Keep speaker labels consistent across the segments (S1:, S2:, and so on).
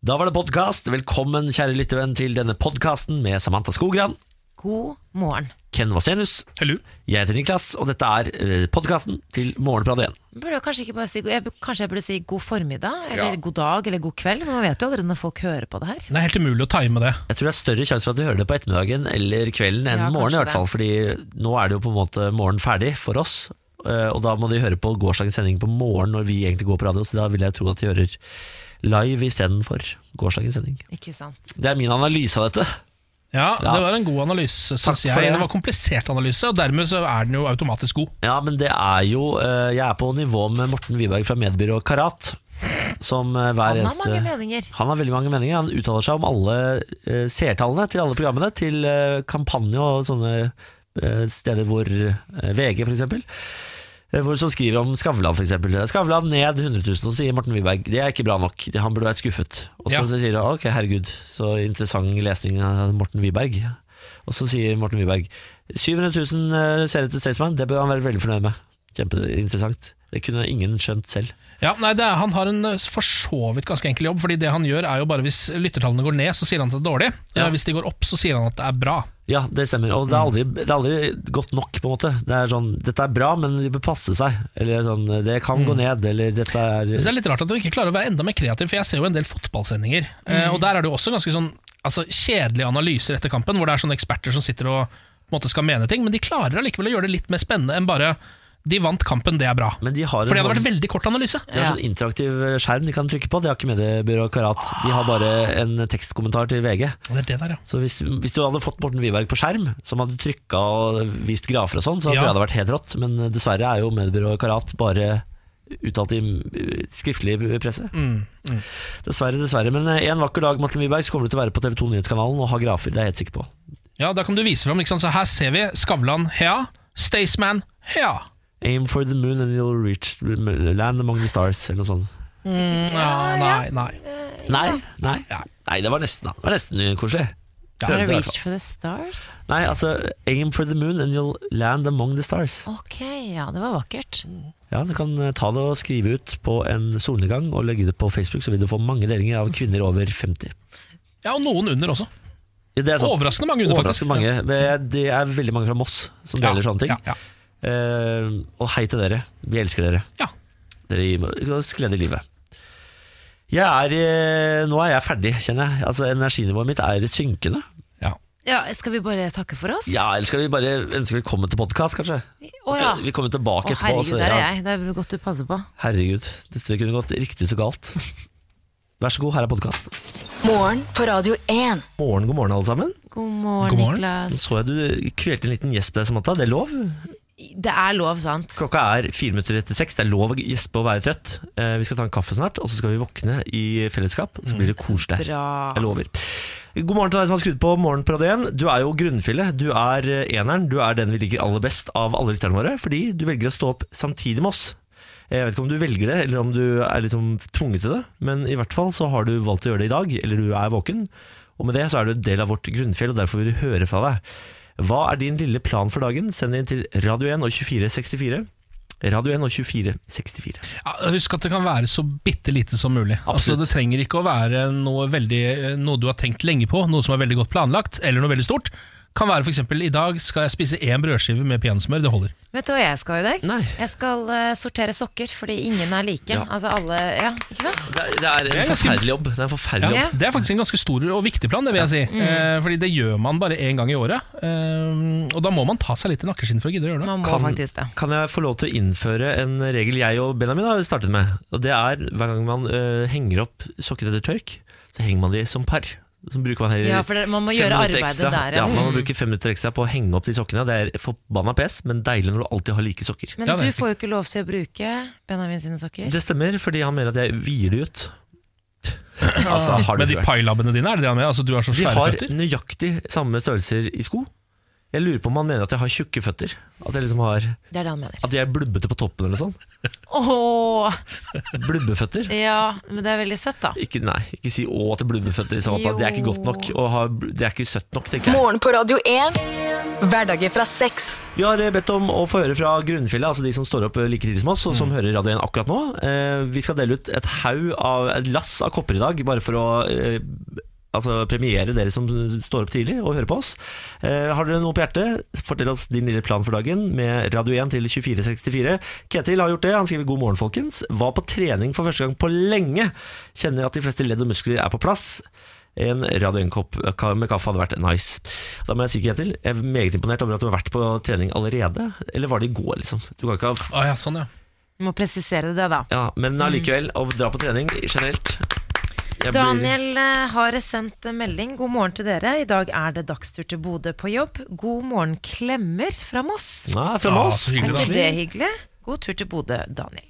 S1: Da var det podkast. Velkommen, kjære lyttevenn, til denne podkasten med Samantha Skogran,
S2: God morgen.
S1: Ken Vasenus.
S3: Hello.
S1: Jeg heter Niklas, og dette er podkasten til Morgenprat 1.
S2: Burde jeg kanskje, ikke bare si, jeg, burde- kanskje jeg burde si god formiddag, eller god dag, eller god kveld. for Man vet jo allerede når folk hører på det her.
S3: Det er helt umulig å time det.
S1: Jeg tror det er større sjanse for at du hører det på ettermiddagen eller kvelden enn
S2: Ja,
S1: morgenen, i
S2: kanskje
S1: hvert fall. Fordi nå er det jo på en måte morgen ferdig for oss. eh, Og da må de høre på gårsdagens sending på morgen når vi egentlig går på radio, så da vil jeg tro at de hører live istedenfor gårsdagens sending.
S2: Ikke sant?
S1: Det er min analyse av dette.
S3: Ja,
S1: Ja.
S3: Det var en god analyse, syns
S1: for
S3: jeg. Det.
S1: det.
S3: var komplisert analyse, og dermed så er den jo automatisk god.
S1: Ja, men det er jo eh, Jeg er på nivå med Morten Wiberg fra mediebyrået Karat. Som eh, hver
S2: Han har
S1: eneste
S2: mange meninger.
S1: Han har veldig mange meninger. Han uttaler seg om alle eh, seertallene til alle programmene, til eh, kampanje og sånne eh, steder hvor eh, VG, for eksempel. eh, Hvor som skriver om Skavlan, for eksempel. Skavlan ned 100 000, og så sier Morten Wiberg det er ikke bra nok. Det- Han burde vært skuffet. Og så
S3: Ja.
S1: sier han ok, herregud, så interessant lesning av Morten Wiberg. Og så sier Morten Wiberg 700 000 eh, seere til Staysman, det bør han være veldig fornøyd med. Kjempeinteressant. Det kunne ingen skjønt selv.
S3: Ja, nei, det er, Han har en eh, for så vidt ganske enkel jobb, Fordi det han gjør er jo bare hvis lyttertallene går ned, så sier han at det er dårlig.
S1: Ja.
S3: Eh, Hvis de går opp, så sier han at det er bra.
S1: Ja, det stemmer. Og det er aldri, det er aldri godt nok, på en måte. Det er sånn Dette er bra, men de bør passe seg. Eller sånn Det kan gå ned, eller dette er
S3: Mm. Så det er litt rart at de ikke klarer å være enda mer kreativ, for jeg ser jo en del fotballsendinger. eh, Og der er det jo også ganske sånn altså, kjedelige analyser etter kampen, hvor det er sånne eksperter som sitter og på en måte skal mene ting, men de klarer allikevel å gjøre det litt mer spennende enn bare 'de vant kampen, det er bra'.
S1: Men de har en
S3: For det hadde
S1: sånn-
S3: vært en veldig kort analyse.
S1: det er en sånn interaktiv skjerm de kan trykke på. De har ikke mediebyrå Karat. De har bare en tekstkommentar til VG.
S3: Ja, Det er det der, ja.
S1: Så hvis, hvis du hadde fått Morten Wiberg på skjerm, som hadde trykka og vist grafer og sånn, så hadde
S3: Ja.
S1: det hadde vært helt rått. Men dessverre er jo mediebyrå Karat bare uttalt i eh, skriftlig presse.
S3: Mm.
S1: Dessverre, dessverre. Men eh, en vakker dag Morten Wiberg, så kommer du til å være på TV 2 Nyhetskanalen og ha grafer. Det er jeg helt sikker på.
S3: ja, da kan du vise fram. Liksom, så her ser vi Skavlan, hea. Staysman, hea.
S1: Aim for the moon and you'll reach land among the stars, eller noe sånt.
S3: Mm, Ja, nei, nei.
S1: Nei, nei,
S3: Ja.
S1: nei det var nesten da. Det var nesten koselig.
S3: Ja,
S1: Prøvde i
S2: Bare
S1: hvert
S2: reach
S1: fall.
S2: for the stars?
S1: Nei, altså aim for the moon and you'll land among the stars.
S2: Ok, ja, det var vakkert.
S1: Ja, Du kan eh, ta det og skrive ut på en solnedgang og legge det på Facebook, så vil du få mange delinger av kvinner over 50.
S3: Ja, og noen under også.
S1: Ja, Det er sant.
S3: Overraskende mange under, faktisk.
S1: Overraskende mange. Men Det er veldig mange fra Moss som deler sånne ting.
S3: Ja, ja.
S1: Eh, og hei til dere. Vi elsker dere.
S3: Ja.
S1: Dere gir oss glede i livet. Jeg er, eh, nå er jeg ferdig, kjenner jeg. Altså, energinivået mitt er synkende.
S3: ja.
S2: Ja, Skal vi bare takke for oss?
S1: Ja, Eller skal vi bare ønske velkommen til podkast, kanskje?
S2: Å ja.
S1: Så Altså, Vi
S2: Å
S1: kommer tilbake etterpå.
S2: herregud,
S1: så-
S2: der er
S1: ja.
S2: jeg. Det er godt du passer på.
S1: herregud, dette kunne gått riktig så galt. Vær så god, her er podkast.
S4: Morgen på Radio 1.
S1: Morgen, god morgen, alle sammen.
S2: God morgen,
S3: God morgen.
S1: Nå
S2: Niklas.
S1: så jeg du kvelte en liten gjesp der, Samantha. Det er lov.
S2: Det er lov, sant?
S1: Klokka er fire minutter etter seks. Det er lov å gjespe og være trøtt. Eh, vi skal ta en kaffe snart, og så skal vi våkne i fellesskap. og Så blir det koselig. her.
S2: Bra.
S1: Jeg lover. God morgen til deg som har skrudd på Morgen på Radio 1. Du er jo grunnfjellet. Du er eh, eneren. Du er den vi liker aller best av alle lytterne våre, fordi du velger å stå opp samtidig med oss. Eh, Jeg vet ikke om du velger det, eller om du er liksom tvunget til det, men i hvert fall så har du valgt å gjøre det i dag, eller du er våken. Og med det så er du en del av vårt grunnfjell, og derfor vil vi høre fra deg. Hva er din lille plan for dagen? Send inn til Radio 1 og 2464. Radio 1 og 2464.
S3: Ja, husk at det kan være så bitte lite som mulig. Altså,
S1: Absolutt.
S3: det trenger ikke å være noe, veldig, noe du har tenkt lenge på, noe som er veldig godt planlagt, eller noe veldig stort. Kan være f.eks.: I dag skal jeg spise én brødskive med peanøttsmør. Det holder.
S2: Vet du hva jeg skal i dag?
S1: Nei.
S2: Jeg skal eh, sortere sokker, fordi ingen er like.
S1: Ja.
S2: Altså alle, ja, ikke sant?
S1: Det er, det er
S3: er
S1: en
S3: ganske-
S1: forferdelig jobb. Det er en forferdelig jobb.
S2: Ja.
S3: Det er faktisk en ganske stor og viktig plan, det vil jeg si. Eh, fordi det gjør man bare én gang i året. Eh, og da må man ta seg litt i nakkeskinnet for å gidde å gjøre noe.
S2: Man må faktisk det.
S1: kan jeg få lov til å innføre en regel jeg og Benjamin har startet med? Og det er hver gang man øh, henger opp sokker etter tørk, så henger man de som par. Så bruker man heller
S2: Ja, for det, man må
S1: fem
S2: gjøre
S1: minutter
S2: arbeidet
S1: ekstra.
S2: der,
S1: ja.
S2: ja. Mm.
S1: Man må bruke fem minutter ekstra på å henge opp de sokkene. Det er forbanna pes, men deilig når du alltid har like sokker.
S2: Men
S3: Ja, det
S2: du
S3: er
S2: får jo ikke lov til å bruke Benjamin sine sokker.
S1: Det stemmer, fordi han mener at jeg hviler de ut. altså, har
S3: Men
S1: du
S3: de
S1: ikke vært?
S3: pailabbene dine, er det det han mener? Altså, du har så
S1: De
S3: svære
S1: har
S3: føtter?
S1: nøyaktig samme størrelser i sko. Jeg lurer på om han mener at jeg har tjukke føtter. At jeg liksom har
S2: Det er det han mener.
S1: At jeg er blubbete på toppen eller sånn.
S2: Åh,
S1: Blubbeføtter.
S2: ja, men det er veldig søtt, da.
S1: Ikke, nei, ikke si 'å' til blubbeføtter i så fall. Det er ikke godt nok. Og har, det er ikke søtt nok, tenker jeg.
S4: Morgen på Radio 1. Hverdager fra seks.
S1: Vi har eh, bedt om å få høre fra grunnfjellet, altså de som står opp eh, like tidlig som oss, og som hører Radio 1 akkurat nå. Eh, vi skal dele ut et haug av et lass av kopper i dag, bare for å eh, altså premiere dere som står opp tidlig og hører på oss. Eh, har dere noe på hjertet, fortell oss din lille plan for dagen med Radio 1 til 2464. Ketil har gjort det, han skriver god morgen, folkens. Var på trening for første gang på lenge. Kjenner at de fleste ledd og muskler er på plass. En Radio 1-kopp ka- med kaffe hadde vært nice. Da må jeg si, Ketil, jeg er meget imponert over at du har vært på trening allerede. Eller var det i går, liksom? Du kan ikke ha
S3: Å ja, sånn, ja.
S2: Vi må presisere det, da.
S1: Ja, men allikevel, å dra på trening generelt jeg blir-
S2: Daniel eh, har sendt en melding. God morgen til dere. I dag er det dagstur til Bodø på jobb. God morgen, klemmer fra Moss.
S1: Nei, fra
S3: Ja,
S1: Moss.
S3: så hyggelig, da.
S2: Er ikke det hyggelig? God tur til Bodø, Daniel.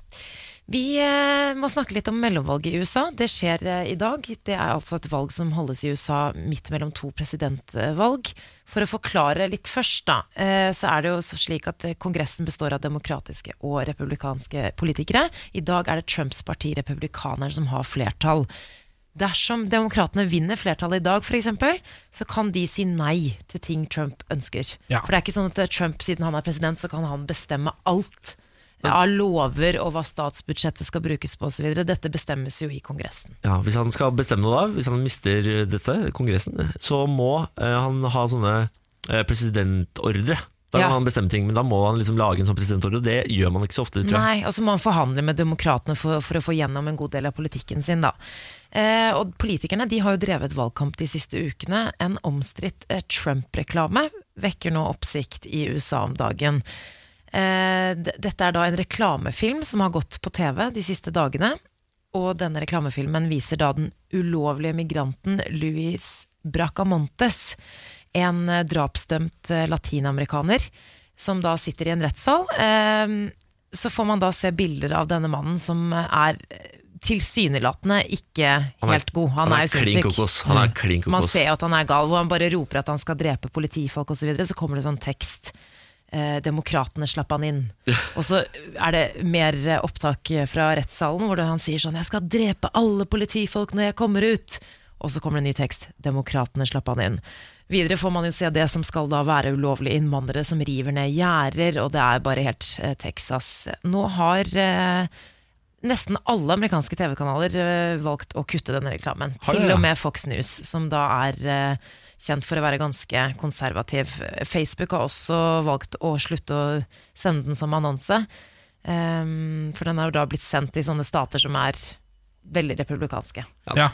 S2: Vi eh, må snakke litt om mellomvalget i USA. Det skjer eh, i dag. Det er altså et valg som holdes i USA midt mellom to presidentvalg. For å forklare litt først, da, eh, så er det jo så slik at eh, Kongressen består av demokratiske og republikanske politikere. I dag er det Trumps parti, republikanerne, som har flertall. Dersom demokratene vinner flertallet i dag, f.eks., så kan de si nei til ting Trump ønsker.
S3: Ja.
S2: For det er ikke sånn at eh, Trump, siden han er president, så kan han bestemme alt av lover og hva statsbudsjettet skal brukes på osv. Dette bestemmes jo i Kongressen.
S1: Ja, hvis han skal bestemme noe da, hvis han mister eh, dette, kongressen, så må eh, han ha sånne eh, presidentordre. Da
S2: Ja.
S1: kan han bestemme ting, men da må han liksom lage en sånn presidentordre. og Det gjør man ikke så ofte, tror jeg.
S2: Nei, og så må han forhandle med demokratene for, for å få gjennom en god del av politikken sin, da. Eh, og politikerne de har jo drevet valgkamp de siste ukene. En omstridt eh, Trump-reklame vekker nå oppsikt i USA om dagen. Eh, d- dette er da en reklamefilm som har gått på TV de siste dagene. Og denne reklamefilmen viser da den ulovlige migranten Luis Bracamontes, en eh, drapsdømt eh, latinamerikaner, som da sitter i en rettssal. Eh, Så får man da se bilder av denne mannen som eh, er eh, tilsynelatende ikke
S1: Han er-
S2: helt god. Han, er jo
S1: klin
S2: sinnssyk. Mm.
S1: kokos. Han er klin kokos.
S2: Man ser jo at han er gal, hvor han bare roper at han skal drepe politifolk osv. Så, videre, så kommer det sånn tekst. Eh, demokratene slapp han inn. Og så er det mer eh, opptak fra rettssalen hvor det- han sier sånn 'Jeg skal drepe alle politifolk når jeg kommer ut'. Og så kommer det en ny tekst. 'Demokratene slapp han inn'. Videre får man jo se det som skal da være ulovlige innvandrere som river ned gjerder, og det er bare helt eh, Texas. Nå har eh, nesten alle amerikanske TV-kanaler eh, valgt å kutte denne reklamen.
S1: Har de
S2: Til
S1: det?
S2: og med Fox News, som da er eh, kjent for å være ganske konservativ. Facebook har også valgt å slutte å sende den som annonse. Ehm, for den har jo da blitt sendt i sånne stater som er veldig republikanske.
S3: ja.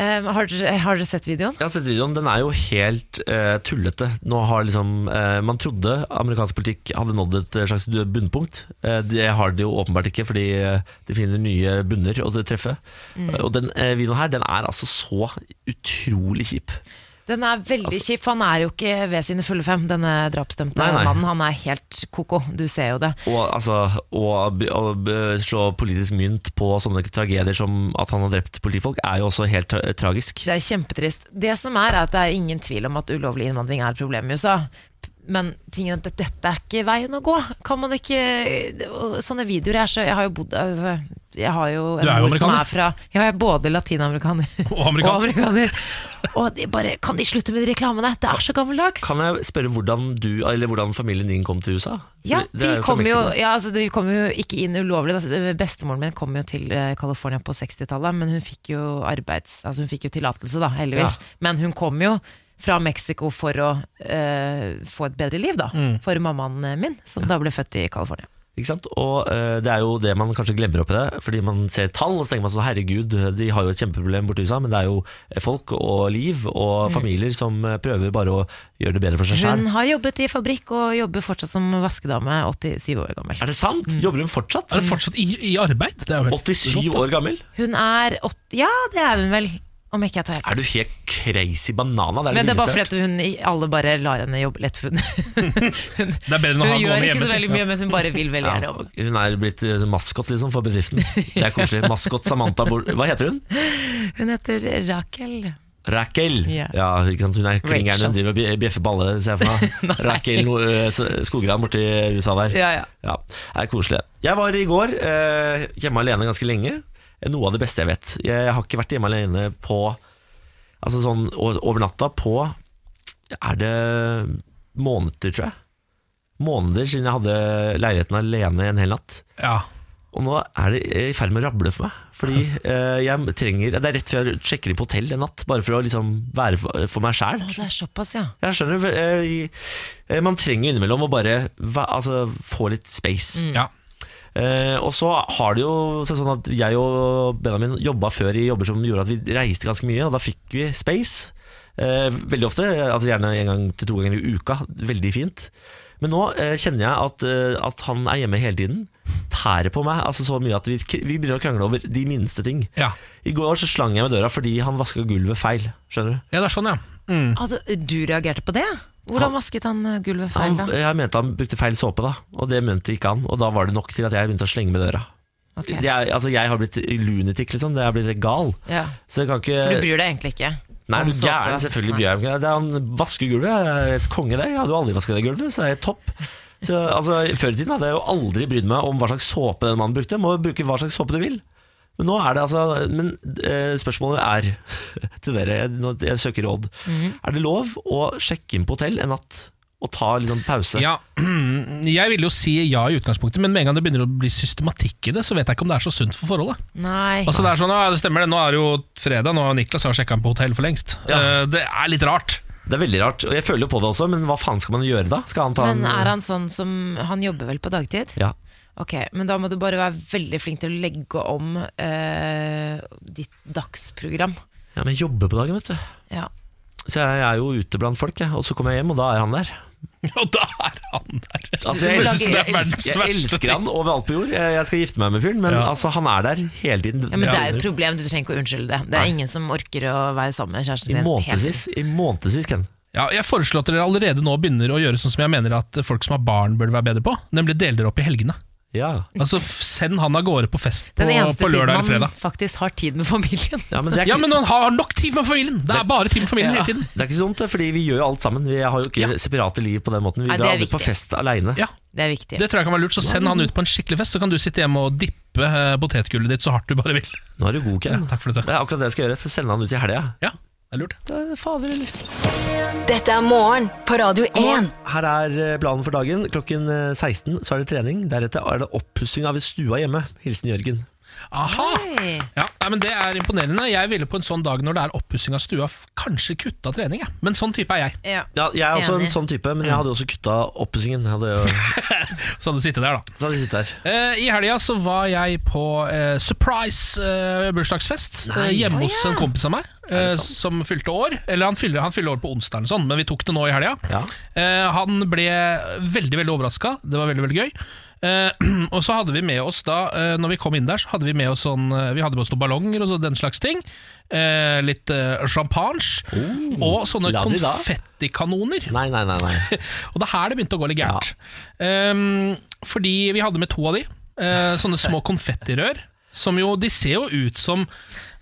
S2: Ehm, har, dere, har dere sett videoen?
S1: Jeg har sett videoen, den er jo helt eh, tullete. Nå har liksom, eh, Man trodde amerikansk politikk hadde nådd et eh, slags bunnpunkt. Eh, det har det jo åpenbart ikke, fordi eh, de finner nye bunner å treffe.
S2: Mm.
S1: Og den eh, videoen her, den er altså så utrolig kjip.
S2: Den er veldig kjip. for Han er jo ikke ved sine fulle fem, denne drapsdømte
S1: Altså- Nei, nei.
S2: mannen. Han er helt koko, du ser jo det.
S1: Og altså, å b- å b- slå politisk mynt på sånne tragedier som at han har drept politifolk, er jo også helt tra tragisk.
S2: Det er kjempetrist. Det som er, er at det er ingen tvil om at ulovlig innvandring er et problem i USA. Men tingen er at dette er ikke veien å gå. Kan man ikke og Sånne videoer er så Jeg har jo bodd altså, Jeg har jo en
S3: Du er jo
S2: mor som
S3: amerikaner.
S2: er fra Ja, jeg er både latinamerikaner
S3: Og amerikaner.
S2: Og, amerikaner. og de bare Kan de slutte med de reklamene? Det er så gammeldags!
S1: Kan jeg spørre hvordan du, eller hvordan familien din kom til USA?
S2: Ja,
S1: Det er
S2: de
S1: jo fra
S2: kom jo,
S1: Mexico.
S2: ja, altså, de kom jo ikke inn ulovlig. da. Altså, Bestemoren min kom jo til eh, California på 60-tallet, men hun fikk jo arbeids... Altså hun fikk jo tillatelse, da, heldigvis. Men hun kom jo fra Mexico for å eh, få et bedre liv, da.
S1: Mm.
S2: For mammaen eh, min, som da ble født i California.
S1: Ikke sant? Og eh, det er jo det man kanskje glemmer oppi det, fordi man ser tall og så tenker man sånn herregud, de har jo et kjempeproblem borti USA, men det er jo eh, folk og liv og familier som eh, prøver bare å gjøre det bedre for seg sjøl.
S2: Mm. Hun har jobbet i fabrikk og jobber fortsatt som vaskedame, 87 år gammel.
S1: Er det sant?
S2: Mm.
S1: Jobber hun fortsatt?
S3: Er det fortsatt i, i arbeid? Det er jo helt
S1: 87
S3: rått, da.
S1: år gammel?
S2: Hun er 80 Ja, det er hun vel, om ikke jeg tar helt
S1: Er du helt crazy banana? Det er
S2: Men det er bare
S1: villeste
S2: fordi
S1: jeg har hørt.
S2: at hun, alle bare lar henne jobbe litt. for Hun, hun,
S3: Det er bedre enn å ha
S2: hun gjør
S3: gående
S2: ikke så
S3: hjemme
S2: veldig
S3: sitt,
S2: mye, men hun bare vil veldig gjerne
S1: ja,
S2: jobbe.
S1: hun er blitt eh, maskot liksom for bedriften. Det er koselig. Maskot Samantha Bor... Hva heter hun?
S2: Hun heter Rakel.
S1: Rakel.
S2: Ja.
S1: Ja, ikke sant? Hun er klingeren, hun
S2: Rachel.
S1: driver og bje- bjeffer balle, ser jeg for meg. Rakel no, eh, S- Skogran borti USA der.
S2: Ja, ja.
S1: Ja, det er koselig. Jeg var i går eh, hjemme alene ganske lenge. Eh, Noe av det beste jeg vet. Jeg har ikke vært hjemme alene på Altså sånn o- over natta på Er det måneder, tror jeg? Måneder siden jeg hadde leiligheten alene en hel natt.
S3: Ja.
S1: Og nå er det eh, i ferd med å rable for meg. Fordi eh, jeg trenger Det er rett før jeg sjekker inn på hotell en natt, bare for å liksom være for, for meg sjæl.
S2: Å, det er såpass, ja.
S1: Jeg skjønner eh, i- eh, Man trenger jo innimellom å bare va, altså, få litt space.
S2: Mm.
S3: ja.
S1: Eh, og så har det jo seg sånn at jeg og Benjamin jobba før i jobber som gjorde at vi reiste ganske mye, og da fikk vi space. Eh, veldig ofte, altså gjerne en gang til to ganger i uka. Veldig fint. Men nå eh, kjenner jeg at, eh, at han er hjemme hele tiden. Tærer på meg altså så mye at vi, vi begynner å krangle over de minste ting.
S3: ja.
S1: I går så slang jeg med døra fordi han vaska gulvet feil. Skjønner du?
S3: Ja, det er sånn, ja. Mm.
S2: Altså, du reagerte på det? Hvordan vasket han eh, gulvet feil,
S1: Han,
S2: da?
S1: jeg mente han brukte feil såpe, da og det mente ikke han. Og da var det nok til at jeg begynte å slenge med døra.
S2: Ok.
S1: Det er, altså, jeg har blitt lunatic, liksom. Jeg har blitt gal.
S2: Ja.
S1: Så jeg kan
S2: For
S1: ikke
S2: du bryr deg egentlig ikke?
S1: Nei,
S2: om
S1: du
S2: såpe?
S1: gæren, selvfølgelig bryr jeg meg ikke. Det er Han vasker gulvet, jeg er et konge det. Jeg hadde jo aldri vasket det gulvet, så det er topp. Så, altså, før i tiden hadde jeg jo aldri brydd meg om hva slags såpe den mannen brukte. Må jo bruke hva slags såpe du vil. Men nå er det altså Men eh, spørsmålet er til dere, jeg, nå, jeg søker råd.
S2: Mhm.
S1: Er det lov å sjekke inn på hotell en natt og ta litt sånn pause?
S3: ja. Mm. Jeg ville jo si ja i utgangspunktet, men med en gang det begynner å bli systematikk i det, så vet jeg ikke om det er så sunt for forholdet.
S2: Nei.
S3: Altså det er sånn, ja, det stemmer det, nå er det jo fredag, nå har Niklas har sjekka han på hotell for lengst.
S1: Ja.
S3: Eh, det er litt rart.
S1: Det er veldig rart. Og jeg føler jo på det også, men hva faen skal man gjøre da? Skal han ta
S2: Men
S1: en
S2: er han sånn som Han jobber vel på dagtid?
S1: Ja.
S2: Ok, men da må du bare være veldig flink til å legge om eh, ditt dagsprogram.
S1: ja, men jobbe på dagen, vet du.
S2: Ja.
S1: Så jeg er jo ute blant folk, jeg. Og så kommer jeg hjem, og da er han der.
S3: Og da er han der!
S1: Altså, jeg,
S2: Du må
S1: elsker,
S2: lage-
S1: jeg, elsker, jeg elsker han overalt på jord. Jeg jeg skal gifte meg med fyren, men
S3: Ja.
S1: altså, han er der hele tiden.
S2: ja, Men det er jo
S1: Ja.
S2: et problem, du trenger ikke å unnskylde det. Det er
S1: Nei.
S2: ingen som orker å være sammen med kjæresten
S1: I
S2: din. hele tiden.
S1: månedsvis, i månedsvis, Ken.
S3: Ja, jeg foreslår at dere allerede nå begynner å gjøre sånn som jeg mener at folk som har barn bør være bedre på, nemlig dele dere opp i helgene.
S1: Ja.
S3: Altså f- Send han av gårde på fest på,
S2: Den eneste
S3: på lørdag eller
S2: tiden man
S3: fredag.
S2: faktisk har tid med familien.
S1: Ja, men det er,
S3: Ja,
S1: ikke-
S3: men han har nok tid med familien! Det er bare tid med familien hele tiden.
S1: det er ikke så dumt, det, fordi vi gjør jo alt sammen. Vi har jo ikke separate liv på den måten. Vi
S2: Nei, det
S1: drar
S2: er
S1: aldri på
S2: viktig.
S1: fest aleine.
S3: Ja,
S2: Det er viktig.
S3: Det tror jeg kan være lurt, så send han ut på en skikkelig fest, så kan du sitte hjemme og dippe eh, potetgullet ditt så hardt du bare vil.
S1: Nå er du god, Ken.
S3: Takk for
S1: Det
S3: dette.
S1: er akkurat det jeg skal gjøre. Så sender han ut i helga.
S3: Ja, det er lurt.
S1: Da- Fader, eller?
S4: Dette er morgen på Radio 1.
S1: Her er eh, planen for dagen. Klokken eh, 16 så er det trening. Deretter er det oppussing av stua hjemme. Hilsen Jørgen.
S3: Aha!
S2: Oi.
S3: Ja, nei, men Det er imponerende. Jeg ville på en sånn dag når det er oppussing av stua, f- kanskje kutta trening. Jeg. Men sånn type er jeg.
S2: Ja.
S1: Ja, jeg er også
S2: Enig.
S1: en sånn type, men jeg hadde også kutta oppussingen. Jeg Hadde jo,
S3: Så hadde jeg sittet der da
S1: så hadde jeg sittet her.
S3: Eh, I helga så var jeg på eh, surprise eh, bursdagsfest eh, hjemme hos en kompis av meg eh, som fylte år. Eller han fyller, han fyller år på onsdag, eller sånn, men vi tok det nå i helga.
S1: Ja.
S3: Eh, han ble veldig veldig overraska. Det var veldig veldig gøy. Eh, og så hadde vi med oss da eh, Når vi kom inn der, så hadde vi med oss sånn eh, Vi hadde med oss noen ballonger og så, den slags ting. Eh, litt eh, champagne. og sånne
S1: Oh. la de da?
S3: konfettikanoner.
S1: Nei, nei, nei. nei.
S3: Og det er her det begynte å gå litt gærent. Ehm, fordi vi hadde med to av de. eh, sånne små konfettirør. Som jo, De ser jo ut som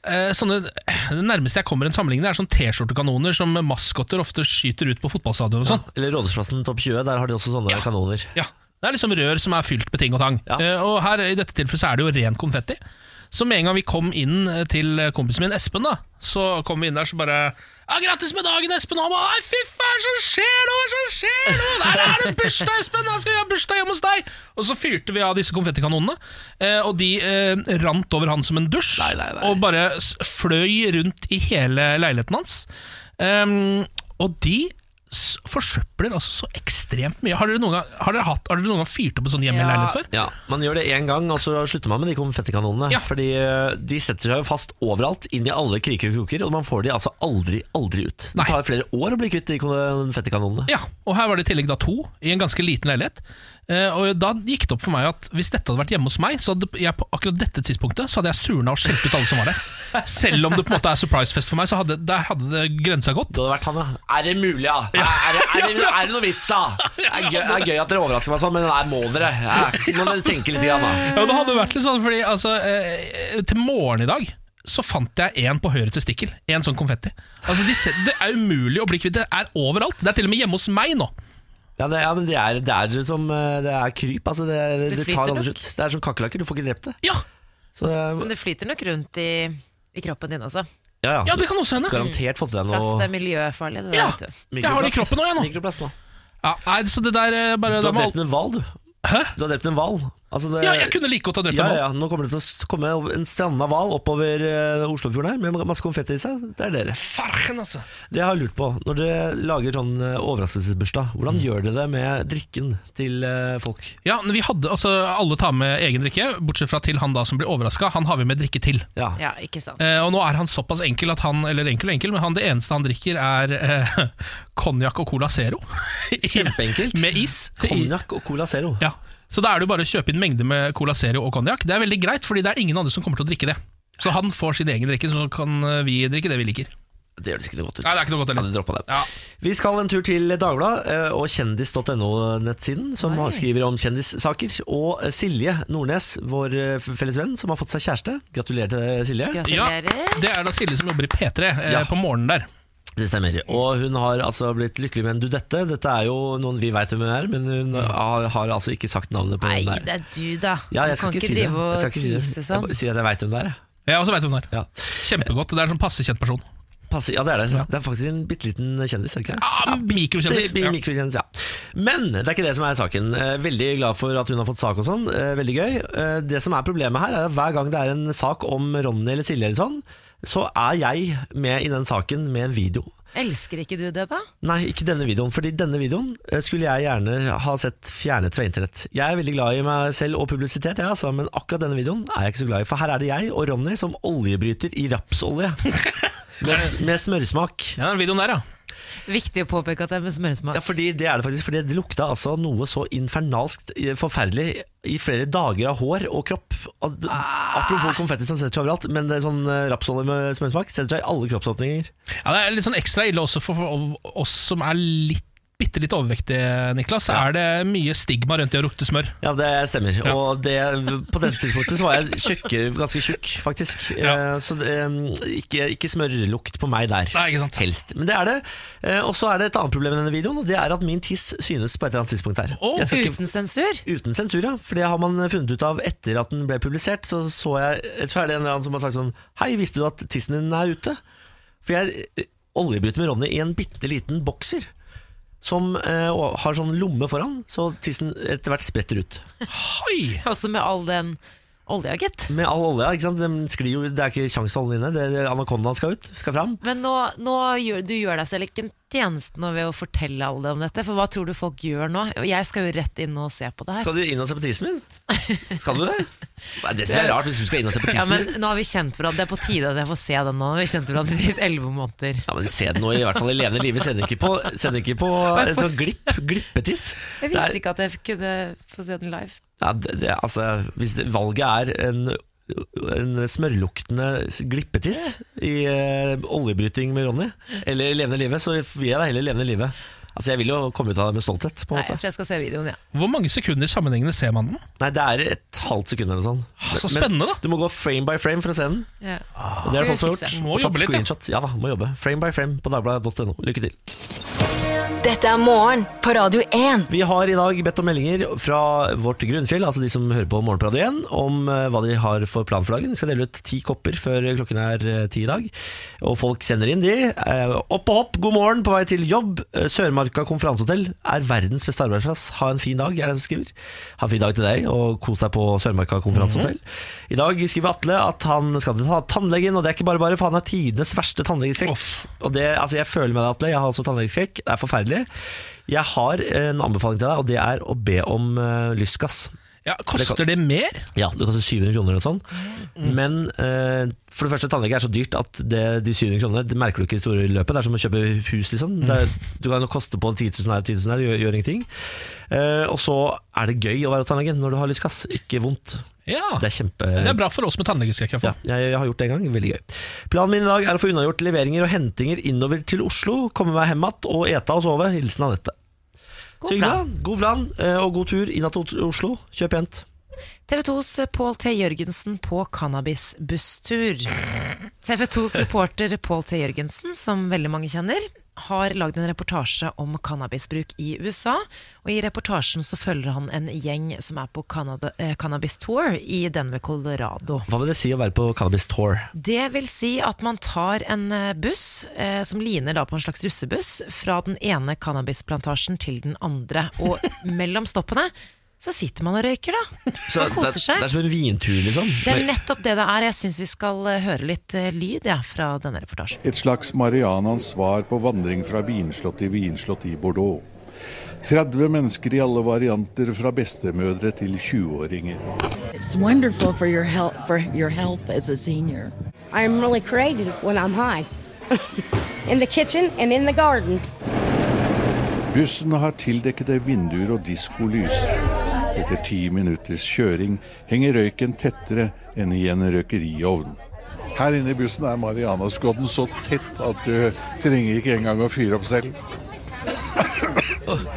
S3: eh, sånne, Det nærmeste jeg kommer en sammenligning, det er sånne T-skjortekanoner som maskotter ofte skyter ut på fotballstadion. og sånn
S1: Eller Rådhusplassen topp 20, der har de også sånne kanoner.
S3: ja, det er liksom rør som er fylt med ting og tang.
S1: Ja.
S3: Eh, og her i dette tilfellet så er det jo ren konfetti. Så med en gang vi kom inn eh, til kompisen min Espen, da så kom vi inn der så bare ja, 'Grattis med dagen, Espen!' Og han bare «Nei, 'Fy faen, så skjer det, hva som skjer nå?' 'Der er det bursdag, Espen! Da skal vi ha bursdag hjemme hos deg!' Og så fyrte vi av disse konfettikanonene, eh, og de eh, rant over han som en dusj. Og bare s- fløy rundt i hele leiligheten hans. Ehm, og de s- forsøpler altså så ekstremt mye. Har dere noen gang, har dere hatt, har dere noen gang fyrt opp en sånn hjemme i
S2: Ja.
S3: leilighet før?
S1: Ja, Man gjør det én gang, og så slutter man med de konfettikanonene.
S3: Ja.
S1: Fordi eh, de setter seg jo fast overalt, inn i alle kriker og kroker, og man får de altså aldri, aldri ut.
S3: Nei.
S1: Det tar flere år å bli kvitt de konfettikanonene.
S3: Ja, og her var det i tillegg da to i en ganske liten leilighet. Eh, og da gikk det opp for meg at hvis dette hadde vært hjemme hos meg, så hadde jeg på akkurat dette tidspunktet Så hadde jeg surna og skjelt ut alle som var der. Selv om det på en måte er surprise-fest for meg, så hadde, der hadde det grensa gått.
S1: Det hadde vært han, ja. Er det mulig, ja? Er, er, er, det- er det noe vits, da? Det er, gøy, det er gøy at dere overrasker meg sånn, men nei, må dere? Ja, Må dere tenke litt, grann, da?
S3: Ja, det hadde vært litt sånn, fordi altså, eh, til morgen i dag så fant jeg en på høyre testikkel. En sånn konfetti. Altså, de, se- det er umulig å bli kvitt. Det er overalt. Det er til og med hjemme hos meg nå.
S1: Ja, det, ja, men det er, det er som eh, Det er kryp. Altså det, det,
S2: Det
S1: tar
S2: flyter
S1: aldri
S2: nok.
S1: slutt. Det er som kakerlakker, du får ikke drept det.
S3: Ja,
S1: Så eh, det er-
S2: Men det flyter nok rundt i, i kroppen din også.
S1: ja, ja,
S3: ja det kan også hende.
S1: Garantert fått i deg
S2: Plast
S1: noe
S2: er miljøfarlig. Det der,
S3: Ja.
S2: vet du.
S3: Jeg har det i kroppen nå, jeg nå.
S1: Mikroplast nå.
S3: Ja, nei, så det der eh, bare
S1: Du
S3: da
S1: har
S3: må alt-
S1: drept en hval, du.
S3: Hæ?
S1: Du har drept en hval. Altså det,
S3: Ja, jeg kunne like godt ha drept
S1: ja,
S3: en hval.
S1: ja, Nå kommer det til å s- komme en stranda hval oppover eh, Oslofjorden her med masse konfetti i seg. Det er dere.
S3: Farken, altså.
S1: Det jeg har lurt på, når dere lager sånn eh, overraskelsesbursdag, hvordan
S3: Mm.
S1: gjør dere det med drikken til eh, folk?
S3: Ja, men vi hadde, altså Alle tar med egen drikke, bortsett fra til han da som blir overraska. Han har vi med drikke til.
S1: Ja.
S2: Ja, ikke sant.
S3: Eh, og nå er han såpass enkel at han Eller enkel og enkel, men han, det eneste han drikker, er eh, konjakk og Cola Zero.
S1: Kjempeenkelt.
S3: med is.
S1: Konjakk og Cola Zero.
S3: Ja. Så da er det jo bare å kjøpe inn mengde med Cola Zero og konjakk. Det er veldig greit, fordi det er ingen andre som kommer til å drikke det. Så han får sin egen drikke, så kan eh, vi drikke det vi liker.
S1: Det høres ikke noe godt ut.
S3: Nei, det er ikke noe
S1: Ja,
S3: godt heller.
S1: det droppa det.
S3: Ja.
S1: Vi skal en tur til Dagbladet eh, og kjendis.no-nettsiden, som
S2: Oi.
S1: skriver om kjendissaker. Og eh, Silje Nordnes, vår eh, felles venn, som har fått seg kjæreste. Gratulerer til deg, Silje.
S3: Ja,
S2: Gratulerer.
S3: det er da Silje som jobber i P3 eh,
S1: Ja.
S3: på morgenen der.
S1: Det stemmer. Og hun har altså blitt lykkelig med en dudette. Dette er jo noen vi veit hvem hun er, men hun har, har altså ikke sagt navnet på
S2: Mm. Nei,
S1: hvem det er.
S2: det er du, da.
S1: Ja,
S2: du
S1: jeg skal
S2: kan
S1: ikke
S2: ikke
S1: si det.
S2: drive
S1: Jeg skal
S2: og
S1: ikke si det.
S2: tise
S1: Jeg
S2: sånn.
S1: bare sier at jeg veit hvem det er. jeg.
S3: Jeg også vet hvem hun er.
S1: Ja.
S3: Kjempegodt. Det er en sånn passe kjent person.
S1: Passe, ja, det er det. Det er faktisk en bitte liten kjendis, er det ikke det?
S3: Ah, Mikrokjendis.
S1: Det blir mikrokjendis, ja. Men det er ikke det som er saken. Eh, Veldig glad for at hun har fått sak og sånn. Eh, Veldig gøy. Eh, Det som er problemet her, er at hver gang det er en sak om Ronny eller Silje eller sånn, så er jeg med i den saken med en video.
S2: Elsker ikke du det, da?
S1: Nei, ikke denne videoen, fordi denne videoen eh, skulle jeg gjerne ha sett fjernet fra internett. Jeg er veldig glad i meg selv og publisitet, jeg, altså, men akkurat denne videoen er jeg ikke så glad i. For her er det jeg og Ronny som oljebryter i rapsolje. med, med smørsmak.
S3: Ja, den videoen der, ja.
S2: Viktig å påpeke at det er med
S1: Ja,
S2: smøresmak.
S1: fordi det er det faktisk, fordi det lukta altså noe så infernalskt eh, forferdelig i flere dager av hår og kropp. At-
S3: Ah.
S1: Apropos konfetti som setter seg overalt, men det er sånn eh, rapsolje med smørsmak setter seg i alle kroppsåpninger.
S3: ja. Det er litt sånn ekstra ille også for, for oss som er litt bitte litt overvektige, Niklas. Er det mye stigma rundt det å lukte smør?
S1: Ja, det stemmer. Og det, på dette tidspunktet så var jeg tjukkere, ganske tjukk, faktisk.
S3: Ja.
S1: Eh, Så det, eh, ikke, ikke smørlukt på meg der.
S3: Nei, ikke sant.
S1: Helst. Men det er det. Eh, Og så er det et annet problem i denne videoen, og det er at min tiss synes på et eller annet tidspunkt her.
S3: Å,
S1: Jeg skal ikke
S2: Uten sensur?
S1: Uten sensur, ja. For det har man funnet ut av etter at den ble publisert. Så, så, jeg, så er det en eller annen som har sagt sånn Hei, visste du at tissen din er ute? For jeg eh, oljebryter med Ronny i en bitte liten bokser. Som eh, og har sånn lomme foran, så tissen etter hvert spretter ut.
S3: Oi!
S2: Også med all den olja, gitt.
S1: Med all olja, ikke sant. Den sklir jo, det er ikke kjangs til å holde den inne. Det, det, anakondaen skal ut, skal fram.
S2: Men nå, nå gjør, du gjør deg selv ikke en tjeneste nå ved å fortelle alle om dette, for hva tror du folk gjør nå? Jeg skal jo rett inn og se på det her.
S1: Skal du inn og se på tissen min? Skal du det? Nei, Det synes jeg er rart, hvis du skal inn og se på
S2: Ja,
S1: tissen
S2: men
S1: min.
S2: nå har vi kjent hverandre, det er på tide at jeg får se den nå. Nå har vi kjent hverandre i 11 måneder.
S1: Ja, men Se den nå, i hvert fall i levende live. Se den ikke på, se den ikke på en sånn glipp, glippetiss. Det
S2: Jeg
S1: er-
S2: visste ikke at jeg kunne få se den live.
S1: Ja, det, det, altså, hvis det, valget er en, en smørluktende glippetiss i eh, oljebryting med Ronny, eller levende livet, så vil jeg da heller levende livet. Altså, jeg vil jo komme ut av det med stolthet, på en
S2: Nei, jeg
S1: måte.
S2: tror jeg skal se videoen, ja.
S3: Hvor mange sekunder sammenhengende ser man den?
S1: Nei, det er et halvt sekund eller noe sånt.
S3: Ah, Så
S1: Men-
S3: spennende, da! Ah,
S1: Du må gå frame by frame for å se den.
S2: ja.
S1: Og Ah, det er det folk som har
S2: Fikse.
S1: gjort. Og
S3: Må
S1: tatt
S3: jobbe litt, ja.
S1: screenshot. Ja da, må jobbe. Frame by frame på dagbladet.no. Lykke til.
S4: Dette er morgen på Radio 1.
S1: Vi har i dag bedt om meldinger fra vårt grunnfjell, altså de som hører på Morgenpratet igjen, om eh, hva de har for plan for dagen. Vi skal dele ut ti kopper før klokken er eh, ti i dag. Og folk sender inn de. Eh, Opp og hopp, god morgen, på vei til jobb. Eh, Sørmarka konferansehotell er verdens beste arbeidsplass. Ha en fin dag, er det som skriver. Ha en fin dag til deg, og kos deg på Sørmarka konferansehotell. I dag skriver Atle at han skal til ta- tannlegen, og det er ikke bare bare, for han har tidenes verste tannlegeskrekk.
S3: Uff.
S1: Og det, altså jeg føler med deg, Atle. Jeg har også tannlegeskrekk. Det er forferdelig. Jeg har eh, en anbefaling til deg, og det er å be om eh, lystgass.
S3: Ja, Koster det mer?
S1: Ja, det koster 700 kroner eller sånn.
S3: Mm.
S1: Men eh, for det første, tannlege er så dyrt at det, de 700 kronene det merker du ikke i det store løpet. Det er som å kjøpe hus, liksom. Det er,
S3: Mm.
S1: du kan jo koste på 10 000 her, 10 000 her, gjør, gjør ingenting. Eh, og så er det gøy å være hos tannlegen når du har lystgass. Ikke vondt.
S3: Ja.
S1: Det er kjempe...
S3: Det er bra for oss med tannlegeskrekk. i hvert
S1: Ja,
S3: fall.
S1: jeg, jeg har gjort det en gang, veldig gøy Planen min i dag er å få unnagjort leveringer og hentinger innover til Oslo Komme meg hjem igjen og ete og sove Hilsen Anette
S2: God
S1: Så hyggelig da. God plan eh, og god tur inn til Oslo Kjøp jent
S2: TV 2s Pål T. Jørgensen på cannabisbusstur. TV 2-supporter Pål T. Jørgensen, som veldig mange kjenner, har lagd en reportasje om cannabisbruk i USA. Og I reportasjen så følger han en gjeng som er på Canada, eh, cannabis tour i Denver, Colorado.
S1: Hva vil det si å være på Cannabis Tour?
S2: Det vil si at man tar en eh, buss eh, som ligner da på en slags russebuss fra den ene cannabisplantasjen til den andre. Og mellom stoppene så sitter man og røyker, da.
S1: Så
S2: og koser
S1: Det,
S2: seg.
S1: det er som en vintur, liksom.
S2: Det er nettopp det det er. Jeg syns vi skal eh, høre litt eh, lyd ja, fra denne reportasjen.
S5: Et slags Marianas svar på vandring fra vinslott til vinslott i Bordeaux. 30 mennesker i alle varianter, fra bestemødre til 20-åringer.
S6: It's wonderful for your health for your health as a senior.
S7: I'm really creative when I'm high. in the kitchen and in the garden.
S5: Bussen har tildekkede vinduer og diskolys. Etter ti minutters kjøring henger røyken tettere enn i en røkeriovn. Her inne i bussen er Marianaskodden så tett at du trenger ikke engang å fyre opp selv.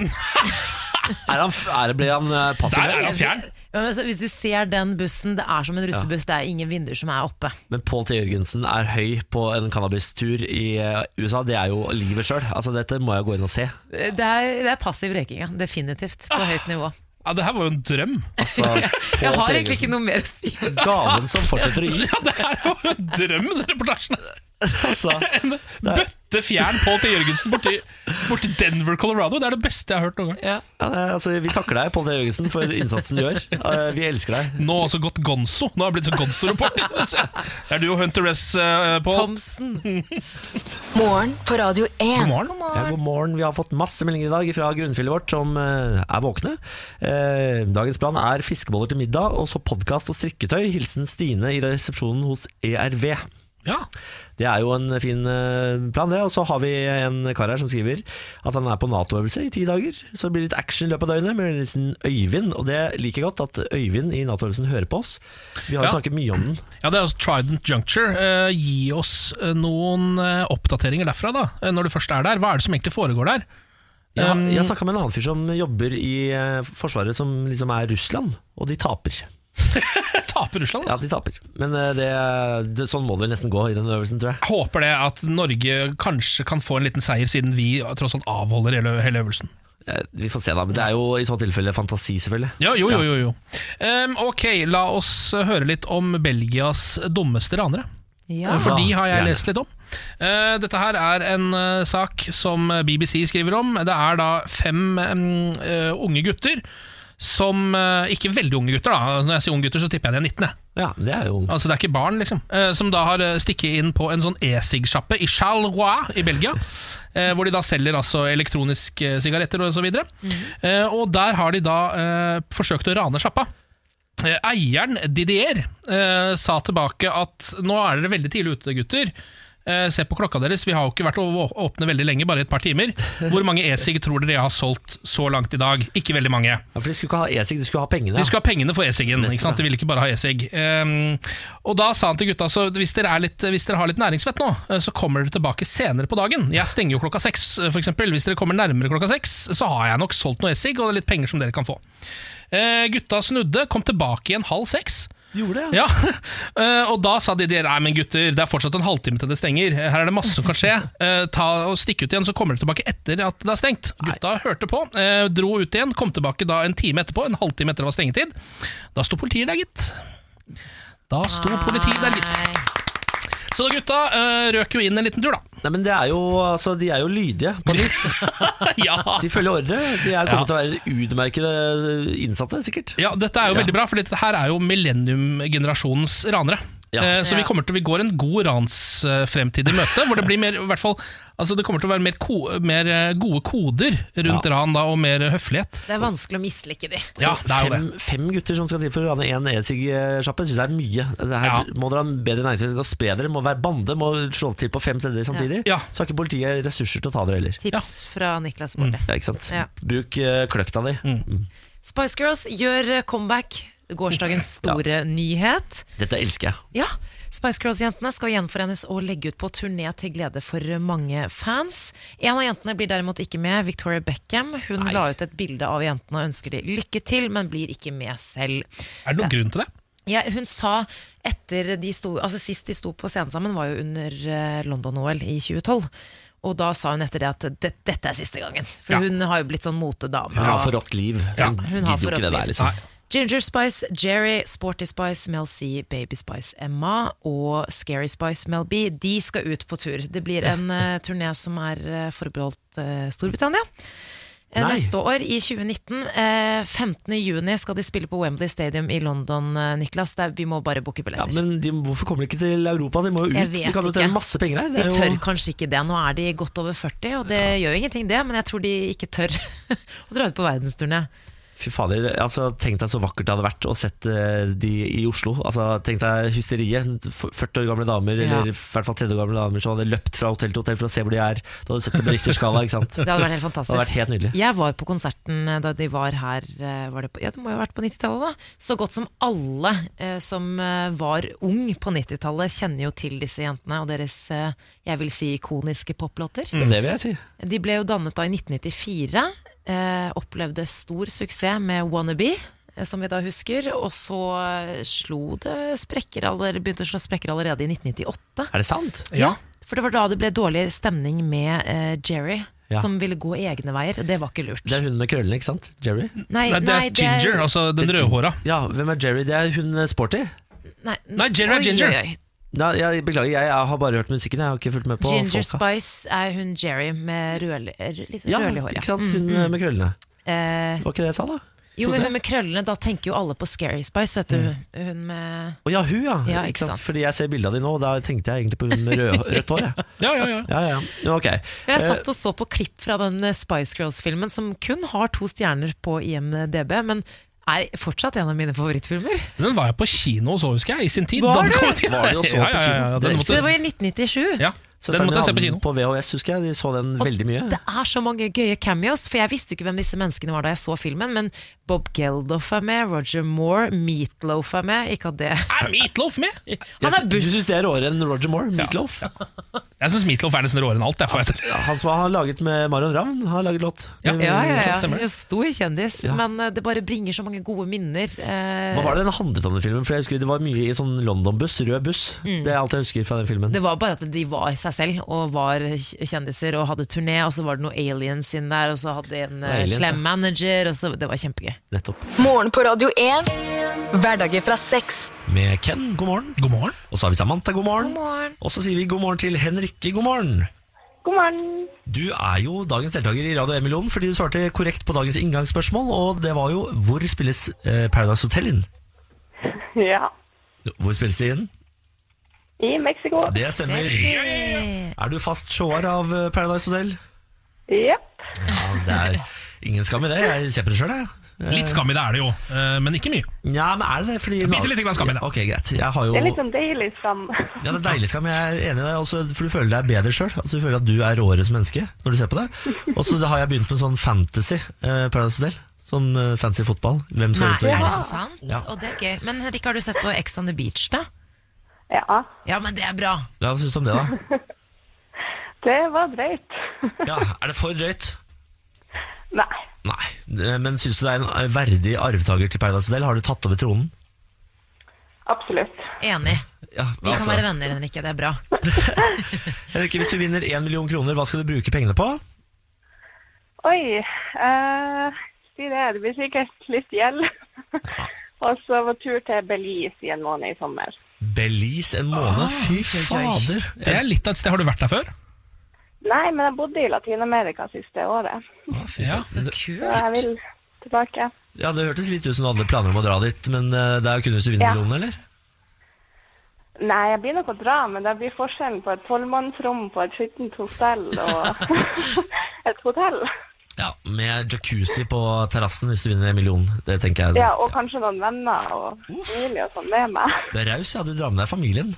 S1: Er han, er, det- ble han eh, passiv?
S3: Der er han fjern!
S2: Ja, men altså, Hvis du ser den bussen, det er som en russebuss. Det er ingen vinduer som er oppe.
S1: Men Pål T. Jørgensen er høy på en cannabistur i eh, USA. Det er jo livet sjøl. Altså, dette må jeg gå inn og se.
S2: Det er, det er passiv røyking, ja. Definitivt.
S1: Ah.
S2: På høyt nivå.
S3: Ja, det her var jo en drøm.
S1: Altså, Pål
S2: Jeg
S1: T.
S2: har egentlig
S1: Jørgensen.
S2: ikke noe mer å si.
S1: Gaven som fortsetter å gi.
S3: Ja, det her var jo en drøm, den reportasjen. her.
S1: Altså,
S3: En bøtte fjern Pål T. Jørgensen borti, borti Denver, Colorado. Det er det beste jeg har hørt noen gang.
S1: ja, det er- altså, vi takker deg, Pål T. Jørgensen, for innsatsen du gjør. Eh, Vi elsker deg.
S3: Nå har også gått Gonzo. Nå har jeg blitt sånn Gonzo-reporter. Det er du og Hunter S, eh, Pål.
S2: Thomsen.
S4: Morgen på Radio 1.
S3: God morgen.
S1: Ja, god morgen. Vi har fått masse meldinger i dag fra grunnfjellet vårt som eh, er våkne. Eh, dagens plan er fiskeboller til middag, og så podkast og strikketøy. Hilsen Stine i resepsjonen hos ERV.
S3: Ja.
S1: Det er jo en fin eh, plan, det. Og så har vi en kar her som skriver at han er på Nato-øvelse i ti dager. Så det blir litt action i løpet av døgnet med liksom Øyvind. Og det liker jeg godt, at Øyvind i Nato-øvelsen hører på oss. Vi har jo
S3: Ja.
S1: snakket mye om den.
S3: Ja, det er også Trident Juncture. Eh, gi oss eh, noen eh, oppdateringer derfra, da. eh, Når du først er der. Hva er det som egentlig foregår der?
S1: Jeg, har-
S3: Um,
S1: jeg snakka med en annen fyr som jobber i eh, Forsvaret, som liksom er Russland, og de taper.
S3: Taper Russland,
S1: Ja,
S3: altså.
S1: de taper. Men eh, det, det, sånn må det vel nesten gå i den øvelsen, tror jeg.
S3: Jeg håper det at Norge kanskje kan få en liten seier, siden vi eh, tross alt avholder hele, hele øvelsen.
S1: Eh, Vi får se, da. Men det er jo i så tilfelle fantasi, selvfølgelig.
S3: Ja, jo, jo, jo. jo. Ehm, ok, la oss høre litt om Belgias dummeste ranere. Eh,
S2: Ja.
S3: For de
S1: Ja,
S3: har jeg
S1: gjerne.
S3: lest litt om. Eh, dette her er en eh, sak som BBC skriver om. Det er da fem em, eh, unge gutter som eh, Ikke veldig unge gutter, da. Når jeg sier unge gutter, så tipper jeg de er 19. jeg.
S1: Ja, det er jo
S3: Altså Det er ikke barn, liksom. Eh, som da har eh, stikket inn på en sånn e-sig-sjappe i Charleroi i Belgia. Eh, hvor de da selger altså elektroniske sigaretter og så videre. Eh, og der har de da eh, forsøkt å rane sjappa. Eh, Eieren, Didier, eh, sa tilbake at nå er dere veldig tidlig ute, gutter. Eh, se på klokka deres, vi har jo ikke vært å- å- åpne veldig lenge, bare et par timer. Hvor mange e-sig tror dere jeg har solgt så langt i dag? Ikke veldig mange.
S1: ja, For de skulle ikke ha e-sig, de skulle ha pengene.
S3: De skulle ha pengene for e-siggen. ikke sant? De ville ikke bare ha e-sig. Ehm, og da sa han til gutta så hvis dere, er litt, hvis dere har litt næringsvett nå, eh, så kommer dere tilbake senere på dagen. Jeg stenger jo klokka seks, eh, for eksempel. Hvis dere kommer nærmere klokka seks, så har jeg nok solgt noe e-sig og litt penger som dere kan få. Eh, gutta snudde, kom tilbake igjen halv seks.
S1: De gjorde det,
S3: Ja, eh, og da sa de der, nei men gutter, det er fortsatt en halvtime til det stenger, her er det masse som kan skje, Eh, ta og stikk ut igjen, så kommer dere tilbake etter at det er stengt. Gutta hørte på, eh, dro ut igjen, kom tilbake da en time etterpå, en halvtime etter det var stengetid. Da sto politiet der, gitt. Da sto politiet der, gitt.
S2: Nei.
S3: Så da gutta eh, røk jo inn en liten tur, da.
S1: Nei, men det er jo, altså, de er jo lydige på en vis.
S3: ja.
S1: De følger ordre. De er kommet til å være utmerkede eh, innsatte, sikkert.
S3: ja, dette er jo veldig bra, for dette her er jo millennium-generasjonens ranere.
S1: Ja.
S3: Eh, så vi,
S2: Ja.
S3: kommer til, vi går en god ransfremtid i møte, hvor det blir mer, i hvert fall, altså det kommer til å være mer, ko, mer eh, gode koder rundt
S1: Ja.
S3: ran da, og mer høflighet.
S2: Det er vanskelig å mislike de.
S3: Ja, det er jo
S1: fem,
S3: det.
S1: fem gutter som skal til for å rane én e-sig-sjappe, syns jeg er mye. Det her
S3: Ja.
S1: Må dere ha en bedre næringsvett og spre dere, må være bande, må slå til på fem steder samtidig.
S3: Ja.
S1: Så har ikke politiet ressurser til å ta dere heller.
S2: Tips fra Niklas Baarli.
S1: Ja, ikke sant?
S2: Ja.
S1: Bruk eh, kløkta di.
S3: Mm.
S2: Spice Girls gjør eh, comeback. Gårsdagens store nyhet.
S1: Dette elsker jeg.
S2: Ja, Spice Girls-jentene skal gjenforenes og legge ut på turné til glede for mange fans. En av jentene blir derimot ikke med, Victoria Beckham. Hun la ut et bilde av jentene og ønsker de lykke til, men blir ikke med selv.
S3: Er det noen grunn til det?
S2: Ja, hun sa etter de sto, altså Sist de sto på scenen sammen, var jo under eh, London-OL i 2012. Og da sa hun etter det at det, dette er siste gangen. For
S3: Ja.
S2: hun har jo blitt sånn motedame.
S1: Hun har
S2: og-
S1: forrådt liv. Hun
S3: Ja,
S2: hun har
S1: gidder jo ikke det
S2: forrådt
S1: der,
S2: liv.
S1: liksom.
S2: Ginger Spice, Jerry, Sporty Spice, Mel C, Baby Spice, Emma og Scary Spice, Mel B. De skal ut på tur. Det blir en eh, turné som er eh, forbeholdt eh, Storbritannia. Eh,
S1: Nei.
S2: Neste år, i 2019. Eh, 15. juni skal de spille på Wembley Stadium i London, eh, Niklas. Det er- vi må bare booke
S1: Ja,
S2: billetter.
S1: men de, hvorfor kommer de ikke til Europa? De må jo ut.
S2: Jeg
S1: De
S2: vet
S1: kan jo
S2: ikke.
S1: tjene masse penger her.
S2: de
S1: Det er
S2: tør
S1: jo,
S2: kanskje ikke det. Nå er de godt over 40, og det gjør jo ingenting, det. Men jeg tror de ikke tør å dra ut på verdensturné.
S1: fy fader, altså, tenk deg så vakkert det hadde vært å sett eh, de i Oslo. Altså, tenk deg hysteriet. F- 40 år gamle damer,
S2: Ja.
S1: eller i hvert fall 30 år gamle damer som hadde løpt fra hotell til hotell for å se hvor de er. Da hadde du sett det på Richterskala, ikke sant.
S2: Det hadde vært helt fantastisk.
S1: Det hadde vært helt nydelig.
S2: Jeg var på konserten eh, da de var her eh, var det, på, ja, det må jo ha vært på 90-tallet, da. Så godt som alle eh, som eh, var ung på 90-tallet, kjenner jo til disse jentene og deres eh, jeg vil si ikoniske poplåter.
S1: Det vil jeg si.
S2: De ble jo dannet da i 1994. Eh, opplevde stor suksess med Wannabe, eh, som vi da husker. Og så eh, slo det sprekker aller, begynte å slå sprekker allerede i 1998.
S1: Er det sant?
S3: Ja.
S2: For det var da det ble dårlig stemning med eh, Jerry,
S1: Ja.
S2: som ville gå egne veier. og Det var ikke lurt.
S1: Det er hun med krøllene, ikke sant? Jerry?
S2: Nei,
S3: Nei, det er
S2: nei, det er-
S3: Ginger, altså den
S1: Det er
S3: rødhåra.
S1: Ja, hvem er Jerry? Det er hun eh, sporty?
S2: Nei,
S3: Nei, Jerry er
S2: oi,
S3: Ginger.
S2: oi, oi.
S1: Nei, jeg, beklager, jeg, jeg har bare hørt musikken, jeg har ikke fulgt med på
S2: Ginger
S1: folka.
S2: Spice er hun Jerry med rødlig, rød- litt
S1: Ja,
S2: rødlig hår. Mm,
S1: ikke sant? Hun eh, med krøllene.
S2: Eh,
S1: Var ikke det jeg sa, da?
S2: jo, men
S1: Trodde
S2: hun med krøllene, da tenker jo alle på Scary Spice, vet du. Hun med
S1: Å ja, hun, ja.
S2: Ja,
S1: ikke
S2: ikke
S1: sant?
S2: sant.
S1: Fordi jeg ser bilde av de nå, og da tenkte jeg egentlig på hun med rød, rødt hår. Jeg.
S3: Ja, ja, ja.
S1: Ja, ja, ja. Ok. Eh,
S2: Jeg satt og så på klipp fra den eh, Spice Girls-filmen som kun har to stjerner på IMDb, men er fortsatt en av mine favorittfilmer.
S3: Den var jeg på kino og så, husker jeg, i sin tid.
S2: Var
S3: Da-
S2: du?
S1: Var du og så på
S3: Ja, ja, ja, ja,
S1: kino?
S3: Den
S2: Det
S3: måtte,
S2: var i 1997.
S3: ja, den
S1: Søsteren
S3: måtte jeg se
S1: hadde den
S3: på kino.
S1: På VHS, husker jeg. De så den veldig mye.
S2: Det er så mange gøye cameos, for jeg visste jo ikke hvem disse menneskene var da jeg så filmen, men Bob Geldof er med, Roger Moore, Meatloaf er med, ikke at det
S3: Er Meatloaf med?
S2: Han
S1: Jeg
S2: er
S1: sy-
S2: buss...
S1: du syns det er råere enn Roger Moore? Meatloaf?
S3: Jeg syns Meatloaf er nesten råere enn alt. Jeg, får jeg til.
S1: Ja, han som har laget med Marion Ravn, har laget låt.
S3: Ja.
S2: Ja, ja, ja.
S3: Stemmer det.
S2: En Stor kjendis,
S1: Ja.
S2: men eh, det bare bringer så mange gode minner. eh,
S1: Hva var det den handlet om, den filmen? For jeg husker Det var mye i sånn London-buss, rød buss. Det er alt jeg husker fra den filmen.
S2: Mm. Det var bare at de var seg selv og var kj- kjendiser og hadde turné, og så var det noen aliens inn der, og så hadde de en eh,
S1: Aliens, ja.
S2: slem manager, og så Det var kjempegøy.
S1: Nettopp.
S4: Morgen på Radio 1. Hverdager fra seks.
S1: Med Ken, god morgen.
S3: God morgen.
S1: Og så har vi Samantha, god morgen.
S2: morgen.
S1: Og så sier vi god morgen til Henrikke, god morgen.
S8: God morgen.
S1: Du er jo dagens deltaker i Radio 1-millionen fordi du svarte korrekt på dagens inngangsspørsmål, og det var jo hvor spilles eh, Paradise Hotel inn?
S8: Ja.
S1: Hvor spilles det inn?
S8: I Mexico.
S1: Ja, det stemmer. Er du fast showar av eh, Paradise Hotel?
S8: Jepp.
S1: Ja, det er ingen skam i det. Jeg ser på det sjøl, jeg.
S3: Litt skam i det er det jo, eh, men ikke mye.
S1: Ja, men er det det? Fordi
S3: Bitte lite grann skam i det.
S1: Ok, greit. Jeg har jo
S8: Det er litt sånn deilig skam.
S1: ja, det er deilig skam, jeg er enig i deg, også, for du føler deg bedre sjøl. Altså, du føler at du er råere som menneske når du ser på det. Og så har jeg begynt med sånn fantasy eh, Paradise Hotel. Sånn eh, fancy fotball. Hvem
S2: Nei,
S1: skal ut og
S2: er
S1: vinne?
S2: det sant?
S1: Ja.
S2: Og det er gøy. Men Henrik, har du sett på Ex on the Beach, da?
S8: Ja.
S2: Ja, men det er bra.
S1: Ja, Hva syns du om det, da?
S8: Det var drøyt.
S1: Ja, Er det for drøyt?
S8: Nei.
S1: Nei. Eh, Men syns du det er en verdig arvtaker til Paradise Hotel? Har du tatt over tronen?
S8: Absolutt.
S2: Enig.
S1: Ja, altså-
S2: Vi kan være venner, Henrik. Det er bra.
S1: Henrikke, hvis du vinner én million kroner, hva skal du bruke pengene på?
S8: Oi. eh, si det. Det blir sikkert litt gjeld. Og så var tur til Belize i en måned i sommer.
S1: Belize en måned? Fy fader.
S3: Det er litt av et sted. Har du vært der før?
S8: Nei, men jeg bodde i Latin-Amerika siste året.
S1: Ja, fy
S3: Ja.
S1: faen. Det-
S8: Så jeg vil tilbake.
S1: ja, det hørtes litt ut som du hadde planer om å dra dit, men eh, det er jo kun hvis du vinner
S8: Ja.
S1: millionen, eller?
S8: Nei, jeg blir nok å dra, men det blir forskjellen på et tolvmannsrom på et skittent hotell og et hotell.
S1: Ja, med jacuzzi på terrassen hvis du vinner en million. Det tenker jeg.
S8: Ja, og kanskje noen venner og familie og sånn med meg.
S1: Du er raus, ja. Du drar med deg familien.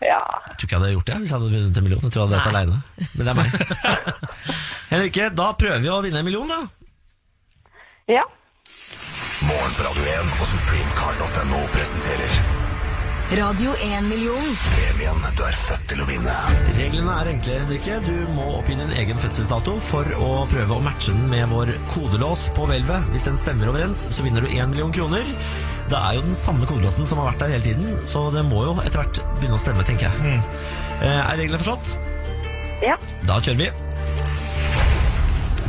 S8: Ja.
S1: Jeg tror ikke jeg hadde gjort det hvis jeg hadde vunnet en million. Jeg tror jeg hadde vært alene. Men det er meg. Henrikke, da prøver vi å vinne en million, da.
S8: Ja.
S9: Morgen på Radio 1 og supremecard.no presenterer
S4: Radio 1-million.
S9: Premien du er født til å vinne.
S1: Reglene er enkle, Henrikke. Du må oppgi din egen fødselsdato for å prøve å matche den med vår kodelås på hvelvet. Hvis den stemmer overens, så vinner du 1 million kroner. Det er jo den samme kodelåsen som har vært der hele tiden, så det må jo etter hvert begynne å stemme, tenker jeg. Eh, Er reglene forstått?
S8: Ja.
S1: Da kjører vi.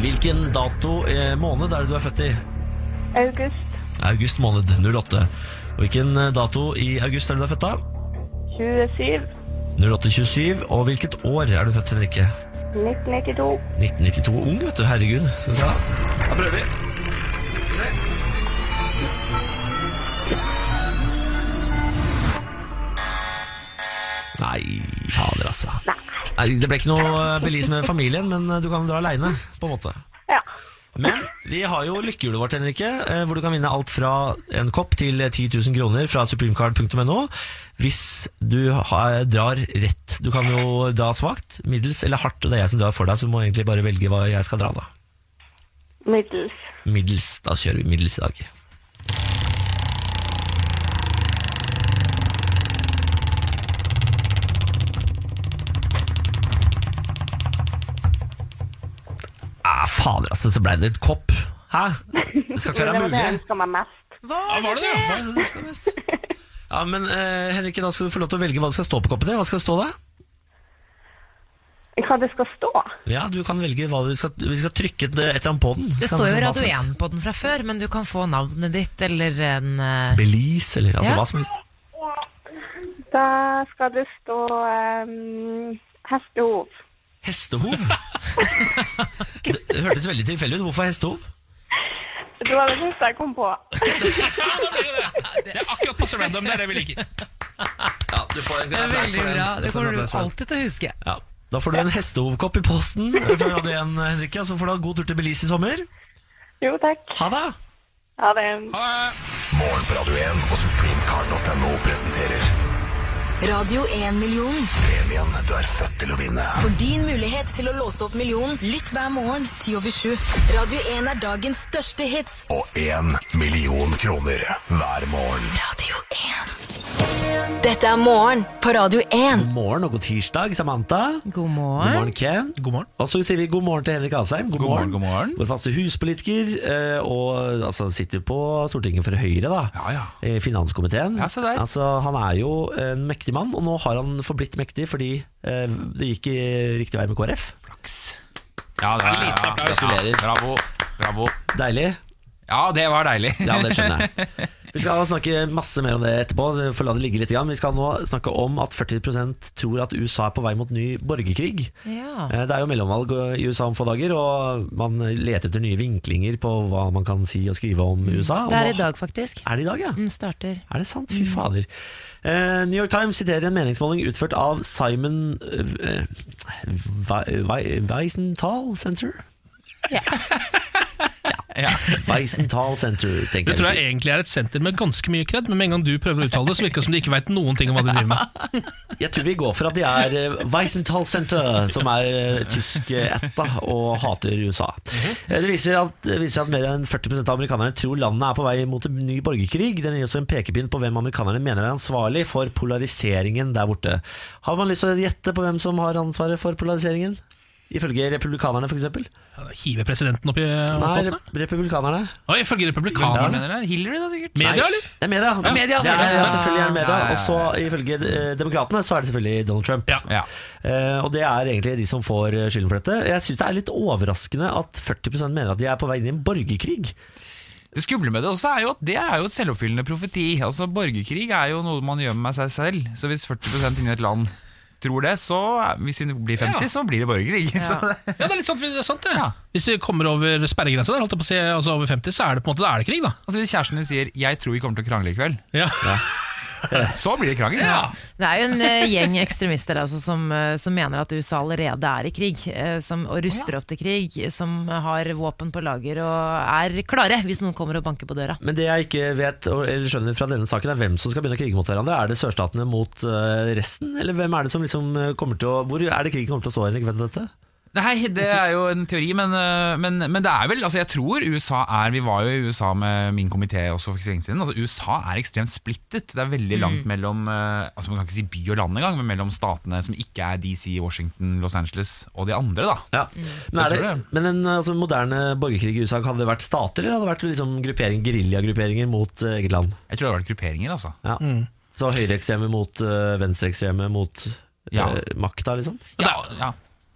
S1: Hvilken dato eh, måned er det du er født i?
S8: August
S1: August måned 08. Hvilken eh, dato i august er det du er født av?
S8: 27,
S1: 08.27. Og hvilket år er du født, Henrikke?
S8: 1992.
S1: 1992 ung, vet du. Herregud, syns jeg. Da prøver vi. Nei, fader, altså. Nei, det ble ikke noe eh, belis med familien, men eh, du kan dra aleine, på en måte.
S8: Ja.
S1: Men vi har jo lykkehjulet vårt, Henrike, eh, hvor du kan vinne alt fra en kopp til 10 000 kroner fra supremecard.no. Hvis du har, drar rett. Du kan jo dra svakt, middels eller hardt. og Det er jeg som drar for deg, så du må egentlig bare velge hva jeg skal dra, da.
S8: Middels.
S1: Middels. Da kjører vi middels i dag. Ah, fader, altså, så ble det et kopp. Hæ? Det skal
S8: Det
S1: ikke være
S8: var det jeg
S1: mulig.
S8: ønska meg mest.
S3: Ja, var det det?
S1: Hva er det du skal mest? Ja, men eh, Henrikke, da skal du få lov til å velge hva det skal stå på koppen din. Hva skal det stå da?
S8: Hva det skal stå?
S1: Ja, du kan velge hva du skal Vi skal trykke et eller annet på den.
S2: Det
S1: Skal-
S2: står jo
S1: hva som
S2: Radio
S1: helst.
S2: 1 på den fra før, men du kan få navnet ditt eller en eh,
S1: Belize, eller altså
S2: Ja.
S1: hva som helst.
S8: Da skal det stå um, hestehov.
S1: Hestehov? det det hørtes veldig tilfeldig ut. Hvorfor hestehov?
S8: Det var det første jeg kom på.
S3: Det er akkurat passe random. Det er det vi liker.
S1: Ja, du får en
S2: Det er veldig bra. Det kommer du
S1: alt.
S2: alltid til å huske.
S1: Ja. Da får du en hestehovkopp i posten fra Radio 1, Henrikke. Og så får du ha god tur til Belize i sommer.
S8: Jo, takk.
S1: Ha det!
S8: Ha det.
S9: Morgen på Radio 1 og supremecard.no presenterer
S4: Radio 1-million.
S9: Premien du er født til å vinne.
S4: For din mulighet til å låse opp millionen, lytt hver morgen 10 over 7. Radio 1 er dagens største hits.
S9: Og én million kroner hver morgen.
S4: Radio 1. Dette er morgen på Radio 1.
S1: God morgen og god tirsdag, Samantha.
S2: God
S1: God
S2: morgen.
S1: morgen, Ken.
S3: God morgen.
S1: Og så sier vi god morgen til Henrik Asheim. God,
S10: morgen, god morgen.
S1: Vår faste huspolitiker, eh, og altså, sitter på Stortinget for Høyre, da.
S10: Ja, ja.
S1: I finanskomiteen.
S10: Ja, se der.
S1: Altså, han er jo en mektig mann, og nå har han forblitt mektig fordi eh, det gikk i riktig vei med KrF.
S10: Ja, det var,
S3: liten
S10: ja,
S3: applaus.
S10: Gratulerer. Bravo. Bravo.
S1: Deilig.
S10: Ja, det var deilig.
S1: Ja, det skjønner jeg. Vi skal snakke masse mer om det etterpå. så får la det ligge litt. grann. Vi skal nå snakke om at 40 tror at USA er på vei mot ny borgerkrig.
S2: Ja.
S1: Eh, Det er jo mellomvalg i USA om få dager, og man leter etter nye vinklinger på hva man kan si og skrive om USA. og
S2: Mm. Det er
S1: nå-
S2: i dag, Mm. faktisk.
S1: Er det i dag, ja?
S2: Den starter.
S1: Er det sant? Fy fader. Eh, New York Times siterer en meningsmåling utført av Simon eh, Wei- Wei- Weisenthal Center? Ja. Weisenthal Center, tenker
S3: Det tror jeg
S1: jeg.
S3: egentlig er et senter med ganske mye kred, men med en gang du prøver å uttale det, så virker det som de ikke veit noen ting om hva de driver med.
S1: vi sier. Jeg tror vi går for at de er eh, Weisenthal Center, som er eh, tysk eh, ætta og hater USA. Eh, Det viser, at, det viser at mer enn 40 av amerikanerne tror landet er på vei mot en ny borgerkrig. Den gir også en pekepinn på hvem amerikanerne mener er ansvarlig for polariseringen der borte. Har man lyst til å gjette på hvem som har ansvaret for polariseringen? Ifølge republikanerne, f.eks.?
S3: Hiver presidenten oppi
S1: Nei,
S3: oppåtene?
S1: rep republikanerne.
S3: Oi, ifølge republikanerne.
S10: mener det? Hillary, da, sikkert?
S3: Media, eller?
S1: Det er media.
S10: Ja, media,
S1: det er,
S10: selvfølgelig.
S1: ja, selvfølgelig er det media.
S10: Ja, ja, ja.
S1: Og så ifølge eh, demokratene så er det selvfølgelig Donald Trump.
S3: Ja.
S10: Ja.
S1: Eh, og det er egentlig de som får eh, skylden for dette. Jeg syns det er litt overraskende at 40 mener at de er på vei inn i en borgerkrig.
S10: Det skumle med det også er jo at det er jo et selvoppfyllende profeti. Altså, Borgerkrig er jo noe man gjør med seg selv. Så hvis 40 inni et land tror det, så hvis vi blir 50,
S3: Ja.
S10: så blir det borgerkrig. Så det,
S3: Ja, det er litt sant, det er sant det.
S10: Ja.
S3: Hvis det kommer over sperregrensa, der, holdt jeg på å si, altså over 50, så er det på en måte da er det krig, da.
S10: altså, hvis kjæresten din sier 'jeg tror vi kommer til å krangle i kveld',
S3: Ja.
S10: så blir det krangel.
S3: Ja.
S2: Det er jo en eh, gjeng ekstremister altså, som, eh, som mener at USA allerede er i krig, eh, som, og ruster opp til krig, som har våpen på lager og er klare hvis noen kommer og banker på døra.
S1: Men det jeg ikke vet og- eller skjønner fra denne saken, er hvem som skal begynne å krige mot hverandre. Er det sørstatene mot eh, resten, eller hvem er det som liksom eh, kommer til å Hvor er det krigen kommer til å stå, Henrik? Vet du dette?
S10: Nei, det er jo en teori, men, øh, men, men det er vel altså Jeg tror USA er Vi var jo i USA med min komité også for ikke så lenge siden. Altså USA er ekstremt splittet. Det er veldig langt
S11: Mm.
S10: mellom øh, Altså Man kan ikke si by og land engang, men mellom statene som ikke er DC, Washington, Los Angeles og de andre, da. Så
S1: Men,
S10: jeg
S1: er
S10: tror
S1: det, men en altså, moderne borgerkrig i USA, hadde det vært stater, eller hadde det vært liksom, gruppering, geriljagrupperinger mot eh, eget land?
S10: Jeg tror det hadde vært grupperinger, altså.
S1: Ja.
S10: Mm.
S1: Så høyreekstreme mot eh, venstreekstreme mot eh,
S10: Ja.
S1: makta, liksom?
S3: Ja, ja.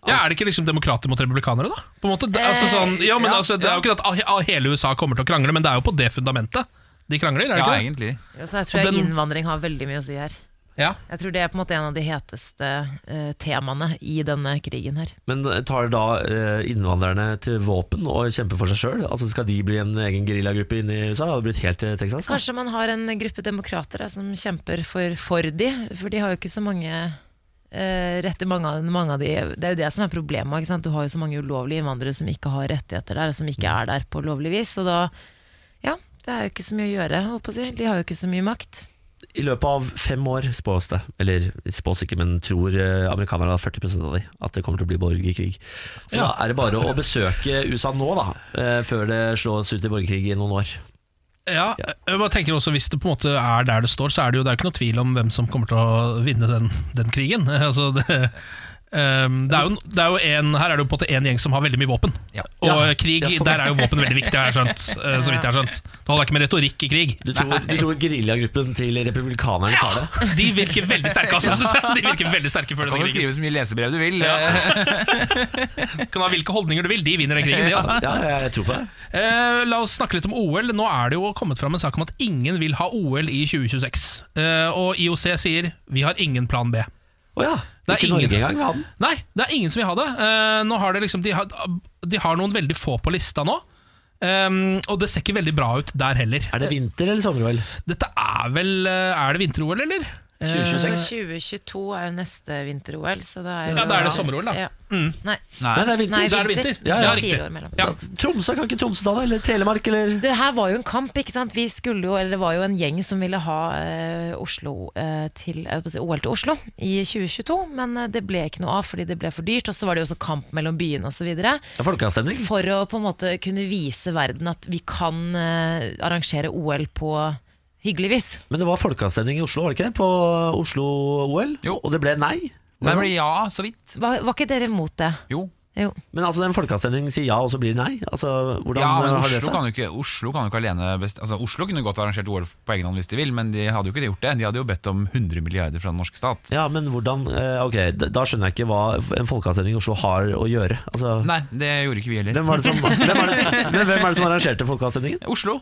S3: Er det ikke liksom demokrater mot republikanere, da? På en måte? Det, altså, sånn, ja, men,
S10: Ja,
S3: altså, det er jo ikke at ah, hele USA kommer til å krangle, men det er jo på det fundamentet de krangler. Er det
S10: Ja,
S3: ikke det?
S10: egentlig.
S2: Ja, så jeg
S3: Og
S2: tror
S3: den-
S2: jeg innvandring har veldig mye å si her.
S3: Ja.
S2: Jeg tror det er på en måte en av de heteste eh, temaene i denne krigen her.
S1: Men tar da eh, innvandrerne til våpen og kjemper for seg sjøl? Altså, skal de bli en egen geriljagruppe inne i USA? Hadde det blitt helt til Texas? da?
S2: Kanskje man har en gruppe demokrater da, som kjemper for, for de, for de har jo ikke så mange eh, retter mange, av- mange av de, Det er jo det som er problemet. Ikke sant? Du har jo så mange ulovlige innvandrere som ikke har rettigheter der, som ikke er der på lovlig vis. Og da, ja, det er jo ikke så mye å gjøre. Holdt på å si. De har jo ikke så mye makt.
S1: I løpet av fem år spås det, eller spås ikke, men tror eh, amerikanerne da, 40 av de at det kommer til å bli borgerkrig. Så da
S3: Ja.
S1: er det bare å besøke USA nå, da, eh, før det slås ut i borgerkrig i noen år.
S3: Ja, jeg bare tenker også Hvis det på en måte er der det står, så er det jo det er jo ikke noe tvil om hvem som kommer til å vinne den, den krigen. Altså, det, ehm, det er jo, det er jo en, her er det jo på en måte en gjeng som har veldig mye våpen. Og
S1: Ja.
S3: krig,
S1: Ja, sånn.
S3: der er jo våpen veldig viktig, har jeg skjønt. eh, Så vidt jeg har skjønt. Det holder ikke med retorikk i krig.
S1: Du tror, du tror geriljagruppen til republikanerne tar det?
S3: De virker veldig sterke, altså. synes jeg. De virker veldig sterke før
S10: Du kan
S3: denne
S10: jo
S3: krigen.
S10: skrive så mye lesebrev du vil.
S3: Du kan ha hvilke holdninger du vil, de vinner den krigen, de, altså.
S1: Ja, jeg tror på det.
S3: Eh, la oss snakke litt om OL. Nå er det jo kommet fram en sak om at ingen vil ha OL i 2026. Eh, og IOC sier vi har ingen plan B.
S1: Å ja.
S3: Det er
S1: Ikke
S3: ingen-
S1: Norge engang vil ha den.
S3: Nei, det er ingen som vil ha det. Eh, nå har det liksom, de, har, de har noen veldig få på lista nå. Eh, og det ser ikke veldig bra ut der heller.
S1: Er det vinter- eller sommer-OL?
S3: Dette er vel eh, Er det vinter-OL, eller? Eh,
S2: Så 2022 er jo neste vinter-OL, så da er
S3: Ja, da er det sommer-OL, da.
S2: Ja.
S3: Mm.
S2: Nei.
S1: Nei, det er vinter.
S2: Nei,
S1: Da er det
S2: vinter.
S1: vinter. Ja, ja,
S2: Det er
S1: riktig.
S2: fire år mellom.
S1: Ja. Tromsø, kan ikke Tromsø ta det? Eller Telemark, eller
S2: Det her var jo en kamp, ikke sant? Vi skulle jo, eller det var jo en gjeng som ville ha eh, Oslo eh, til, jeg holdt på å si, OL til Oslo i 2022, men eh, det ble ikke noe av fordi det ble for dyrt, og så var det jo også kamp mellom byene osv.
S1: Det er folkeavstemning.
S2: For å på en måte kunne vise verden at vi kan eh, arrangere OL på hyggelig vis.
S1: Men det var folkeavstemning i Oslo, var det ikke det? På Oslo-OL? Og det ble nei?
S10: Nei, men ja, så vidt.
S2: Var, var ikke dere imot det?
S10: Jo.
S2: Jo.
S1: Men altså, en folkeavstemning sier ja, og så blir det nei? Altså, hvordan
S10: ja, men
S1: har det
S10: Oslo
S1: seg?
S10: kan, jo ikke, Oslo kan jo ikke alene best, altså Oslo kunne godt arrangert OL på egen hånd hvis de vil, men de hadde jo ikke gjort det. De hadde jo bedt om 100 milliarder fra den norske stat.
S1: Ja, men hvordan eh, Ok, d- da skjønner jeg ikke hva en folkeavstemning i Oslo har å gjøre. Altså,
S10: Nei, det gjorde ikke vi heller.
S1: hvem, var det som, hvem, er det, men hvem er det som arrangerte folkeavstemningen?
S10: Oslo.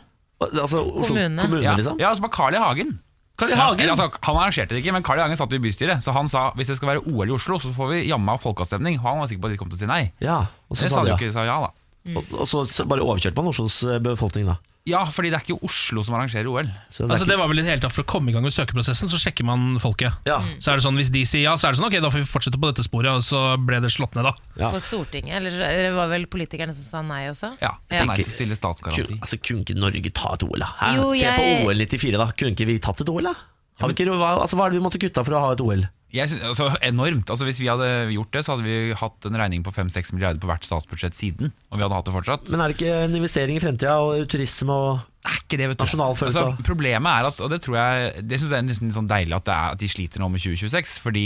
S1: Altså, Oslo kommune,
S10: ja.
S1: liksom?
S10: Ja, altså Carl I. Hagen.
S1: Carl I. Hagen?
S10: Ja, altså, han arrangerte det ikke, men Carl I. Hagen satt i bystyret. Så han sa hvis det skal være OL i Oslo, så får vi jammen meg folkeavstemning. Han var sikker på at de kom til å si nei.
S1: Ja, og så
S10: det
S1: sa
S10: sa
S1: de
S10: de
S1: ja.
S10: jo ikke, de sa ja da.
S1: Og, og så s- bare overkjørte man Oslos eh, befolkning, da.
S10: Ja, fordi det er ikke Oslo som arrangerer OL.
S1: Så
S3: Altså det var vel i det hele tatt For å komme i gang med søkeprosessen, så sjekker man folket.
S1: Ja.
S10: Mm.
S3: Så er det sånn, Hvis de sier ja, så er det sånn ok, da får vi fortsette på dette sporet. Og så ble det slått ned, da.
S2: På Stortinget, eller det var vel politikerne som sa nei også?
S10: Ja,
S1: Jeg
S10: nei
S1: tenker-
S10: til å stille statsgaranti.
S1: Kun, altså, kunne ikke Norge ta et OL, da? Hæ?
S2: Jo,
S1: Se
S2: jeg-
S1: på OL 94, da. Kunne ikke vi tatt et OL, da? Har vi ikke, hva, altså, hva er det vi måtte kutte av for å ha et OL?
S10: Jeg synes, altså, enormt. Altså, hvis vi hadde gjort det, så hadde vi hatt en regning på 5-6 milliarder på hvert statsbudsjett siden. Og vi hadde hatt det fortsatt.
S1: Men er det ikke en investering i fremtida og turisme og
S10: er ikke det, vet du.
S1: nasjonalfølelse?
S10: Altså, problemet er at, og det tror jeg Det synes jeg er nesten litt sånn deilig at, det er, at de sliter nå med 2026, fordi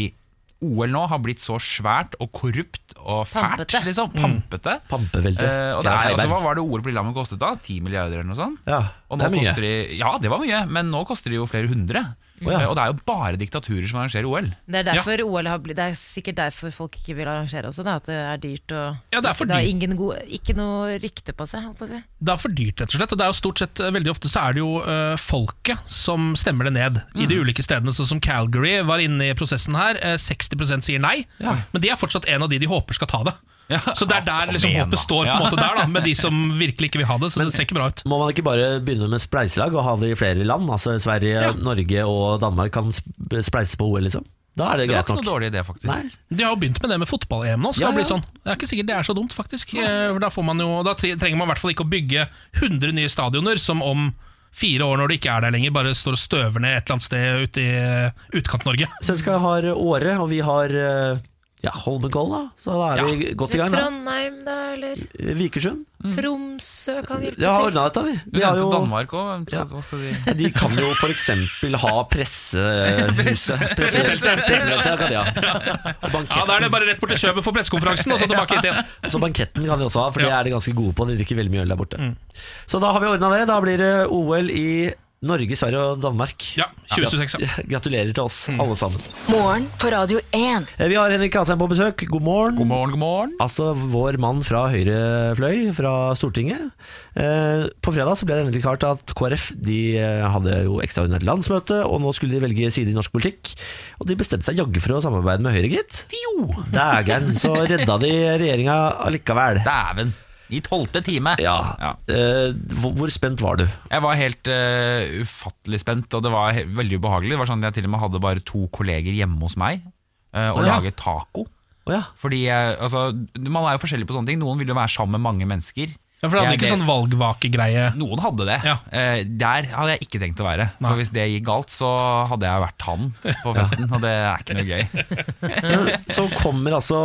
S10: OL nå har blitt så svært og korrupt og fælt,
S2: Pampete.
S10: liksom. Pampete.
S1: Pampevelte.
S10: Eh, og det
S1: Geir
S10: er, altså,
S1: Heiberg.
S10: hva var det ordet på Lillehammer kostet da? 10 milliarder eller noe sånt?
S1: Ja,
S10: Og
S1: det
S10: nå
S1: er mye.
S10: koster de, ja, det var mye, men nå koster de jo flere hundre.
S1: Å, ja.
S10: Eh, Og det er jo bare diktaturer som arrangerer OL.
S2: Det er, derfor OL har blitt, det er sikkert derfor folk ikke vil arrangere også, da, at det er dyrt og
S3: Ja, det er for
S2: har
S3: dyrt.
S2: ingen gode, ikke noe rykte på seg. holdt på å si.
S3: Det er for dyrt, rett og slett. Og det er jo stort sett, eh, Veldig ofte så er det jo eh, folket som stemmer det ned i de ulike stedene. Sånn som Calgary var inne i prosessen her. eh, 60 sier nei, men de er fortsatt en av de de håper skal ta det. Så det er der liksom
S10: igjen, da.
S3: håpet står, på en
S10: Ja.
S3: måte der da med de som virkelig ikke vil ha det. Så det ser ikke bra ut.
S1: Må man ikke bare begynne med spleiselag og ha det i flere land? Altså Sverige, Norge og Danmark kan sp- spleise på OL, liksom? Da er det,
S10: Det
S1: greit
S10: var ikke noe
S1: nok.
S10: dårlig idé, faktisk.
S1: Nei.
S3: De har jo begynt med det med fotball-EM nå. skal
S1: Ja, ja.
S3: det bli sånn Det er ikke sikkert det er så dumt, faktisk. Eh, for Da, får man jo, da tre- trenger man i hvert fall ikke å bygge 100 nye stadioner som om fire år, når det ikke er der lenger, bare står og støver ned et eller annet sted ute i eh, Utkant-Norge.
S1: Svenska har Åre, og vi har eh, Ja, Holmenkollen, da. Så da er vi godt i
S2: Eller
S1: gang. da.
S2: Trondheim, da, eller
S1: Eh, Vikersund.
S2: Tromsø kan hjelpe
S1: Vi har ordna dette, vi.
S10: Du
S1: vi har
S10: nevnte
S1: jo-
S10: Danmark òg. Hva skal de
S1: De kan jo f.eks. ha pressehuset. Pressemøte. Pressemøte kan de ha. Og
S3: Ja, Da er det bare rett bort til Kjøben for pressekonferansen, og så tilbake hit igjen.
S1: Og så banketten kan de også ha, for det er de ganske gode på. De drikker veldig mye øl der borte. Så da har vi ordna det. Da blir det OL i Norge, Sverige og Danmark.
S3: Ja, 2026, ja.
S1: Gratulerer til oss, alle sammen.
S4: Morgen på Radio 1.
S1: Eh, Vi har Henrik Asheim på besøk. God morgen.
S10: God morgen, god morgen.
S1: Altså vår mann fra høyre fløy, fra Stortinget. Eh, på fredag så ble det endelig klart at KrF de eh, hadde jo ekstraordinært landsmøte, og nå skulle de velge side i norsk politikk. Og de bestemte seg jaggu for å samarbeide med Høyre, gitt. Dægeren. Så redda de regjeringa allikevel.
S10: Dæven. I tolvte time.
S1: Ja.
S10: Ja.
S1: Eh, hvor, hvor spent var du?
S10: Jeg var helt eh, ufattelig spent, og det var he- veldig ubehagelig. Det var sånn at Jeg til og med hadde bare to kolleger hjemme hos meg eh, og
S1: Å, ja.
S10: laget taco.
S1: Å ja.
S10: Fordi jeg, altså, Man er jo forskjellig på sånne ting. Noen vil jo være sammen med mange mennesker.
S3: Ja, for det hadde
S10: Jeg-
S3: ikke sånn valgvakegreie.
S10: Noen hadde det.
S3: Ja.
S10: Eh, der hadde jeg ikke tenkt å være.
S3: Nei.
S10: For Hvis det gikk galt, så hadde jeg vært han på festen, og det er ikke noe gøy.
S1: Så kommer altså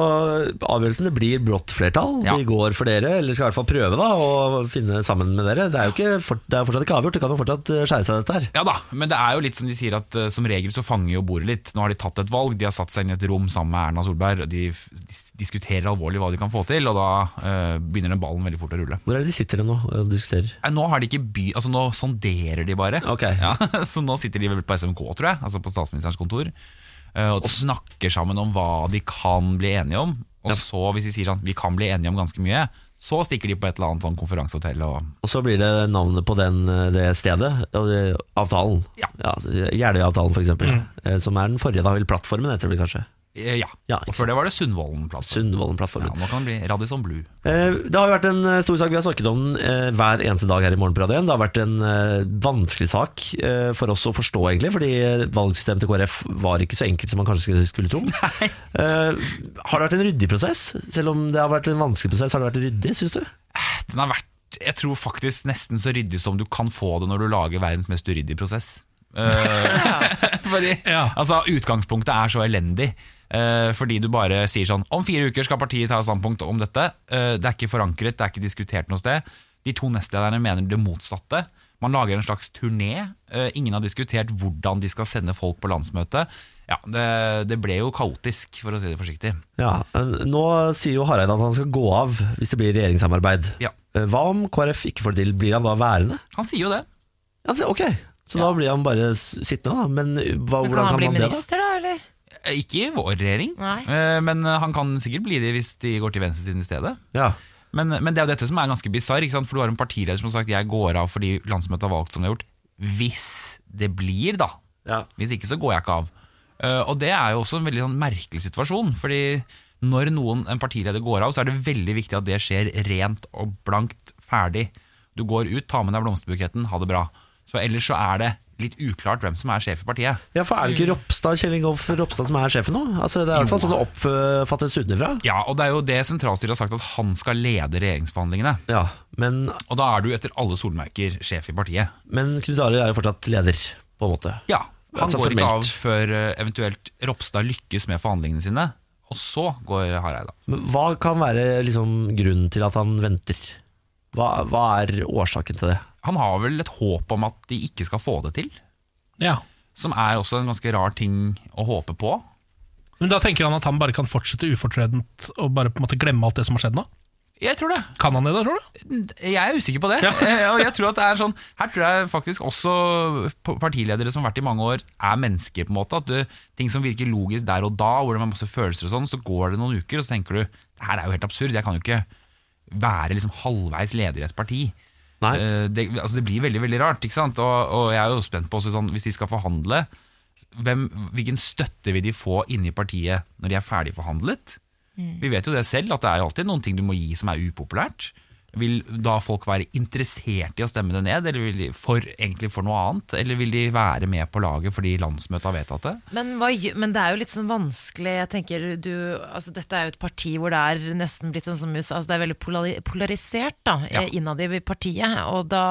S1: avgjørelsen. Det blir brått flertall.
S10: Ja.
S1: De går for dere, eller skal i hvert fall prøve da å finne sammen med dere. Det er jo ikke, for, det er fortsatt ikke avgjort. Det kan jo fortsatt eh, skjære seg, dette her.
S10: Ja da, men det er jo litt som de sier at eh, som regel så fanger jo bordet litt. Nå har de tatt et valg, de har satt seg inn i et rom sammen med Erna Solberg. og De f- dis- diskuterer alvorlig hva de kan få til, og da eh, begynner den ballen veldig fort å rulle.
S1: Hvor er det de sitter nå og diskuterer?
S10: Nei, Nå har de ikke by, altså nå sonderer de bare.
S1: Ok.
S10: Ja, så nå sitter de vel på SMK, tror jeg, altså på statsministerens kontor, eh, og snakker sammen om hva de kan bli enige om. Og så, hvis de sier sånn, vi kan bli enige om ganske mye, så stikker de på et eller annet sånn konferansehotell og
S1: Og så blir det navnet på den, eh, det stedet og det- avtalen.
S10: Ja.
S1: Jeløya-avtalen, f.eks. Mm. Som er den forrige, da. Eller plattformen, heter det vel kanskje.
S10: Eh, Ja.
S1: Ja,
S10: og
S1: ikke
S10: før det var det Sundvolden-plass. Ja,
S1: Sundvolden-plattformen.
S10: nå kan det bli Radisson Blue.
S1: Eh, Det har jo vært en eh, stor sak, vi har snakket om den eh, hver eneste dag her i Morgenparadet. Det har vært en eh, vanskelig sak eh, for oss å forstå, egentlig, fordi eh, valgsystemet til KrF var ikke så enkelt som man kanskje skulle- skulle tro. Eh, Har det vært en ryddig prosess? Selv om det har vært en vanskelig prosess, har det vært ryddig, syns du?
S10: Den har vært, jeg tror faktisk nesten så ryddig som du kan få det når du lager verdens mest uryddige prosess. Eh, fordi,
S3: Ja.
S10: altså, utgangspunktet er så elendig. eh, fordi du bare sier sånn Om fire uker skal partiet ta standpunkt om dette. Eh, det er ikke forankret, det er ikke diskutert noe sted. De to nestlederne mener det motsatte. Man lager en slags turné. Eh, ingen har diskutert hvordan de skal sende folk på landsmøte. Ja, det, det ble jo kaotisk, for å si det forsiktig.
S1: Ja, eh, Nå sier jo Hareide at han skal gå av hvis det blir regjeringssamarbeid.
S10: Ja.
S1: Eh, Hva om KrF ikke får det til, blir han da værende?
S10: Han sier jo det.
S1: Ja, så- ok, så da blir han bare s- sittende, da. Men eh, hva,
S2: Men
S1: hvordan
S2: kan
S1: kan
S2: han bli
S1: man det, da?
S2: minister, da? Eller?
S10: Eh, Ikke i vår regjering,
S2: Nei.
S10: Eh, men eh, han kan sikkert bli det hvis de går til venstresiden i stedet.
S1: Ja.
S10: Men, eh, men det er jo dette som er ganske bisarr, ikke sant? for du har en partileder som har sagt jeg går av fordi landsmøtet har valgt som det har gjort. Hvis det blir, da.
S1: Ja.
S10: Hvis ikke så går jeg ikke av. Eh, og det er jo også en veldig sånn merkelig situasjon, fordi når noen, en partileder går av, så er det veldig viktig at det skjer rent og blankt ferdig. Du går ut, tar med deg blomsterbuketten, ha det bra. Så ellers så er det litt uklart hvem som er sjef i partiet.
S1: Ja, for er det ikke
S10: Mm.
S1: Ropstad, Kjell Ingolf Ropstad som er sjefen nå? Altså, det er i hvert fall sånn det oppfattes utenfra.
S10: Ja, og det er jo det sentralstyret har sagt at han skal lede regjeringsforhandlingene.
S1: Ja, men,
S10: Og da er du etter alle solmerker sjef i partiet.
S1: men Knut Arild er jo fortsatt leder, på en måte.
S10: Ja, Han
S1: Altså,
S10: går ikke
S1: formelt.
S10: av før eh, eventuelt Ropstad lykkes med forhandlingene sine. Og så går Hareide av.
S1: Men hva kan være liksom, grunnen til at han venter? Hva, hva er årsaken til det?
S10: Han har vel et håp om at de ikke skal få det til,
S3: Ja.
S10: som er også en ganske rar ting å håpe på.
S3: Men da tenker han at han bare kan fortsette ufortrødent og bare på en måte glemme alt det som har skjedd nå?
S10: Jeg tror det.
S3: Kan han det, da, tror du?
S10: Jeg er usikker på det. Eh, Og jeg tror at det er sånn Her tror jeg faktisk også p- partiledere som har vært i mange år, er mennesker, på en måte. At du, ting som virker logisk der og da, hvor det er masse følelser og sånn, så går det noen uker, og så tenker du Det her er jo helt absurd. Jeg kan jo ikke være liksom halvveis leder i et parti.
S1: Nei.
S10: Eh, Det, altså det blir veldig veldig rart. ikke sant? Og, og jeg er jo spent på også sånn, Hvis de skal forhandle, hvem, hvilken støtte vil de få inni partiet når de er ferdig forhandlet? Vi vet jo det selv, at det er jo alltid noen ting du må gi som er upopulært. Vil da folk være interessert i å stemme det ned, eller vil de for, egentlig for noe annet? Eller vil de være med på laget fordi landsmøtet har vedtatt det?
S2: Men, hva, gjø- men det er jo litt sånn vanskelig Jeg tenker du, altså Dette er jo et parti hvor det er nesten blitt sånn som USA altså Det er veldig polari polarisert da
S10: Ja.
S2: eh, Innad i partiet og da,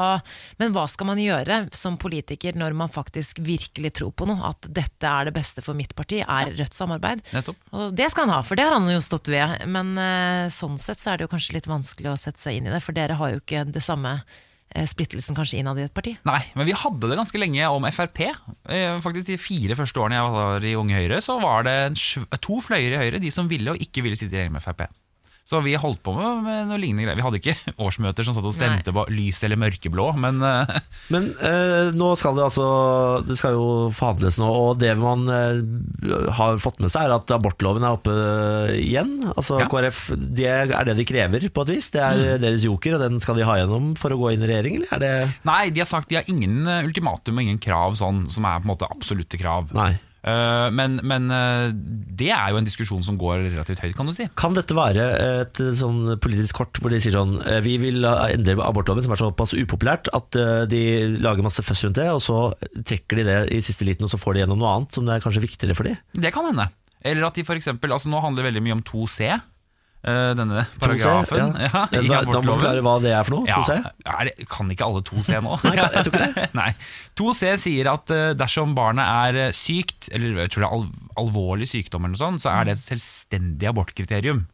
S2: Men hva skal man gjøre som politiker Når man faktisk virkelig tror på noe At dette er det beste for mitt parti Er rødt samarbeid
S10: Nettopp.
S2: Og det skal han ha, for det har han jo stått ved Men eh, sånn sett så er det jo kanskje litt vanskelig Å sette seg inn i det, for dere har jo ikke Det samme eh, splittelsen kanskje innad i et parti
S10: Nei, men vi hadde det ganske lenge om Frp. Eh, Faktisk De fire første årene jeg var i Unge Høyre, så var det en sv- to fløyer i Høyre, de som ville og ikke ville sitte i regjering med Frp. Så vi holdt på med, med noe lignende greier. Vi hadde ikke årsmøter som satt og stemte på lys eller mørkeblå, men eh,
S1: Men eh, nå skal det altså Det skal jo forhandles nå, og det man eh, har fått med seg, er at abortloven er oppe igjen. Altså
S10: Ja. Mm.
S1: KrF det er det de krever, på et vis. Det er deres joker, og den skal de ha gjennom for å gå inn i regjering, eller er det
S10: Nei, de har sagt de har ingen eh, ultimatum og ingen krav sånn, som er på en måte absolutte krav.
S1: Nei.
S10: Eh, men men eh, det er jo en diskusjon som går relativt høyt, kan du si.
S1: Kan dette være et sånn politisk kort hvor de sier sånn eh, Vi vil endre abortloven, som er såpass upopulært at eh, de lager masse føss rundt det, og så trekker de det i siste liten, og så får de gjennom noe annet som det er kanskje viktigere for de.
S10: Det kan hende. Eller at de for eksempel, altså Nå handler det veldig mye om 2C, eh, denne
S1: 2C,
S10: paragrafen.
S1: ja.
S10: ja,
S1: Da- da må
S10: i
S1: du
S10: abortloven.
S1: forklare hva det er for noe,
S10: Ja,
S1: 2C.
S10: er det, kan ikke alle 2C nå?
S1: Nei, jeg tror ikke det.
S10: Nei. 2C sier at eh, dersom barnet er eh, sykt, eller jeg tror det er al alvorlig sykdom, eller noe sånt, så er det et selvstendig abortkriterium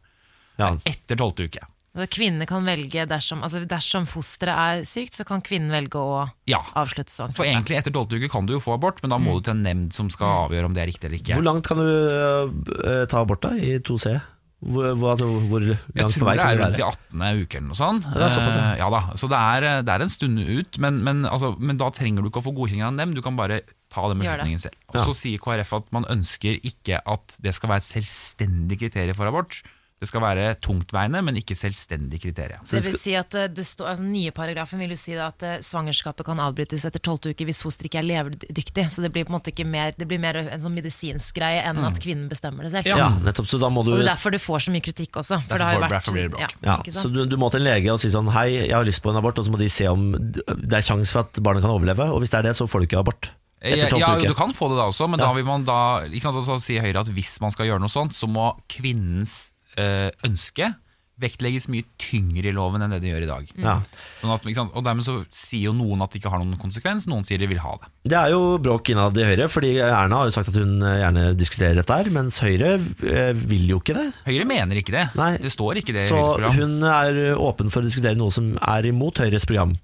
S1: Ja.
S10: etter tolvte uke.
S2: Altså, Kvinnene kan velge dersom, altså dersom fosteret er sykt, så kan kvinnen velge å
S10: Ja.
S1: Ah.
S2: avslutte
S10: For
S2: svangerskapet.
S10: egentlig etter tolvte uke kan du jo få abort, men da
S1: Mm.
S10: må du til en nemnd som skal avgjøre om det er riktig eller ikke.
S1: Hvor langt kan du eh, ta abort da, i 2C? Hvor, hvor, altså, hvor
S10: Jeg
S1: langt på
S10: tror
S1: vei
S10: det
S1: kan
S10: er
S1: du
S10: rundt i
S1: være?
S10: 18. uke eller noe sånt.
S1: Ja, det er såpass, ja.
S10: Eh, ja da, Så det er, det er en stund ut, men, men, altså, men da trenger du ikke å få godkjenning av en nemnd, du kan bare ta den
S2: Gjør det.
S10: beslutningen selv. Og Så sier KrF at man ønsker ikke at det skal være et selvstendig kriterium for abort. Det skal være tungtveiende, men ikke selvstendig kriterium.
S2: Det vil si at eh, det står, altså, den nye paragrafen vil jo si da at eh, svangerskapet kan avbrytes etter tolvte uke hvis fosteret ikke er levedyktig. Så det blir på en måte ikke mer, det blir mer en sånn medisinsk greie enn at kvinnen bestemmer det selv.
S1: Ja, nettopp, så da må du
S2: Og det er derfor du får så mye kritikk også. For
S10: Derfor
S2: det har jo
S10: får-
S2: vært
S10: derfor blir det bråk.
S1: ja,
S2: Ja, ikke
S1: så
S2: sant?
S1: du, du må til en lege og si sånn Hei, jeg har lyst på en abort Og så må de se om det er sjans for at barnet kan overleve Og hvis det er det, så får du ikke abort Etter
S10: Ja, Eh, ja,
S1: tolvte
S10: du
S1: uke
S10: kan få det da også, men
S1: Ja.
S10: da vil man da ikke sant, og Så sier Høyre at hvis man skal gjøre noe sånt, så må kvinnens eh, ønske vektlegges mye tyngre i loven enn det det gjør i
S2: Mm.
S10: dag.
S1: ja.
S10: Sånn at, ikke sant? Og dermed så sier jo noen at det ikke har noen konsekvens, noen sier de vil ha det.
S1: Det er jo bråk innad i Høyre, fordi Erna har jo sagt at hun eh, gjerne diskuterer dette her, mens Høyre eh, vil jo ikke det.
S10: Høyre mener ikke det.
S1: Nei.
S10: Det står ikke det i
S1: Så
S10: Høyres program.
S1: hun er åpen for å diskutere noe som er imot Høyres program.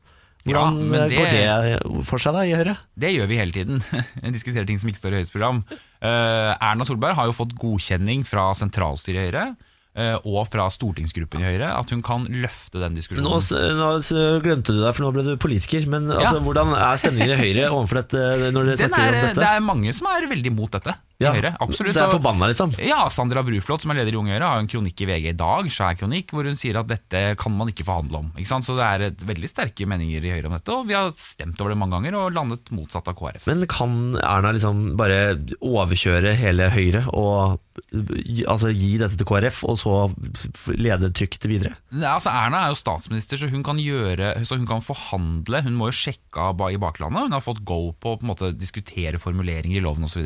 S10: Ja,
S1: Hvordan
S10: men
S1: eh,
S10: det-
S1: går det for seg da i Høyre?
S10: Det gjør vi hele tiden. Diskuterer ting som ikke står i Høyres program. Eh, Erna Solberg har jo fått godkjenning fra sentralstyret i Høyre eh, og fra stortingsgruppen i Høyre at hun kan løfte den diskusjonen.
S1: Nå, s- nå s- glemte du deg, for nå ble du politiker, men altså, hvordan er stemningen i Høyre overfor dette eh, når dere
S10: Den
S1: snakker
S10: er,
S1: om
S10: det
S1: dette?
S10: er mange som er veldig imot dette i Høyre. Absolutt.
S1: Så jeg er
S10: Og-
S1: forbanna, liksom.
S10: Ja, Sandra Bruflot, som er leder i Unge Høyre, har jo en kronikk i VG i dag, svær kronikk, hvor hun sier at dette kan man ikke forhandle om. Ikke sant? Så det er et veldig sterke meninger i Høyre om dette, og vi har stemt over det mange ganger og landet motsatt av KrF.
S1: Men kan Erna liksom bare overkjøre hele Høyre og eh, altså, gi dette til KrF, og så f- lede trygt videre?
S10: Nei, altså Erna er jo statsminister, så hun kan, gjøre, så hun kan forhandle. Hun må jo sjekke av ba- i baklandet. Hun har fått go på å på en måte diskutere formuleringer i loven osv.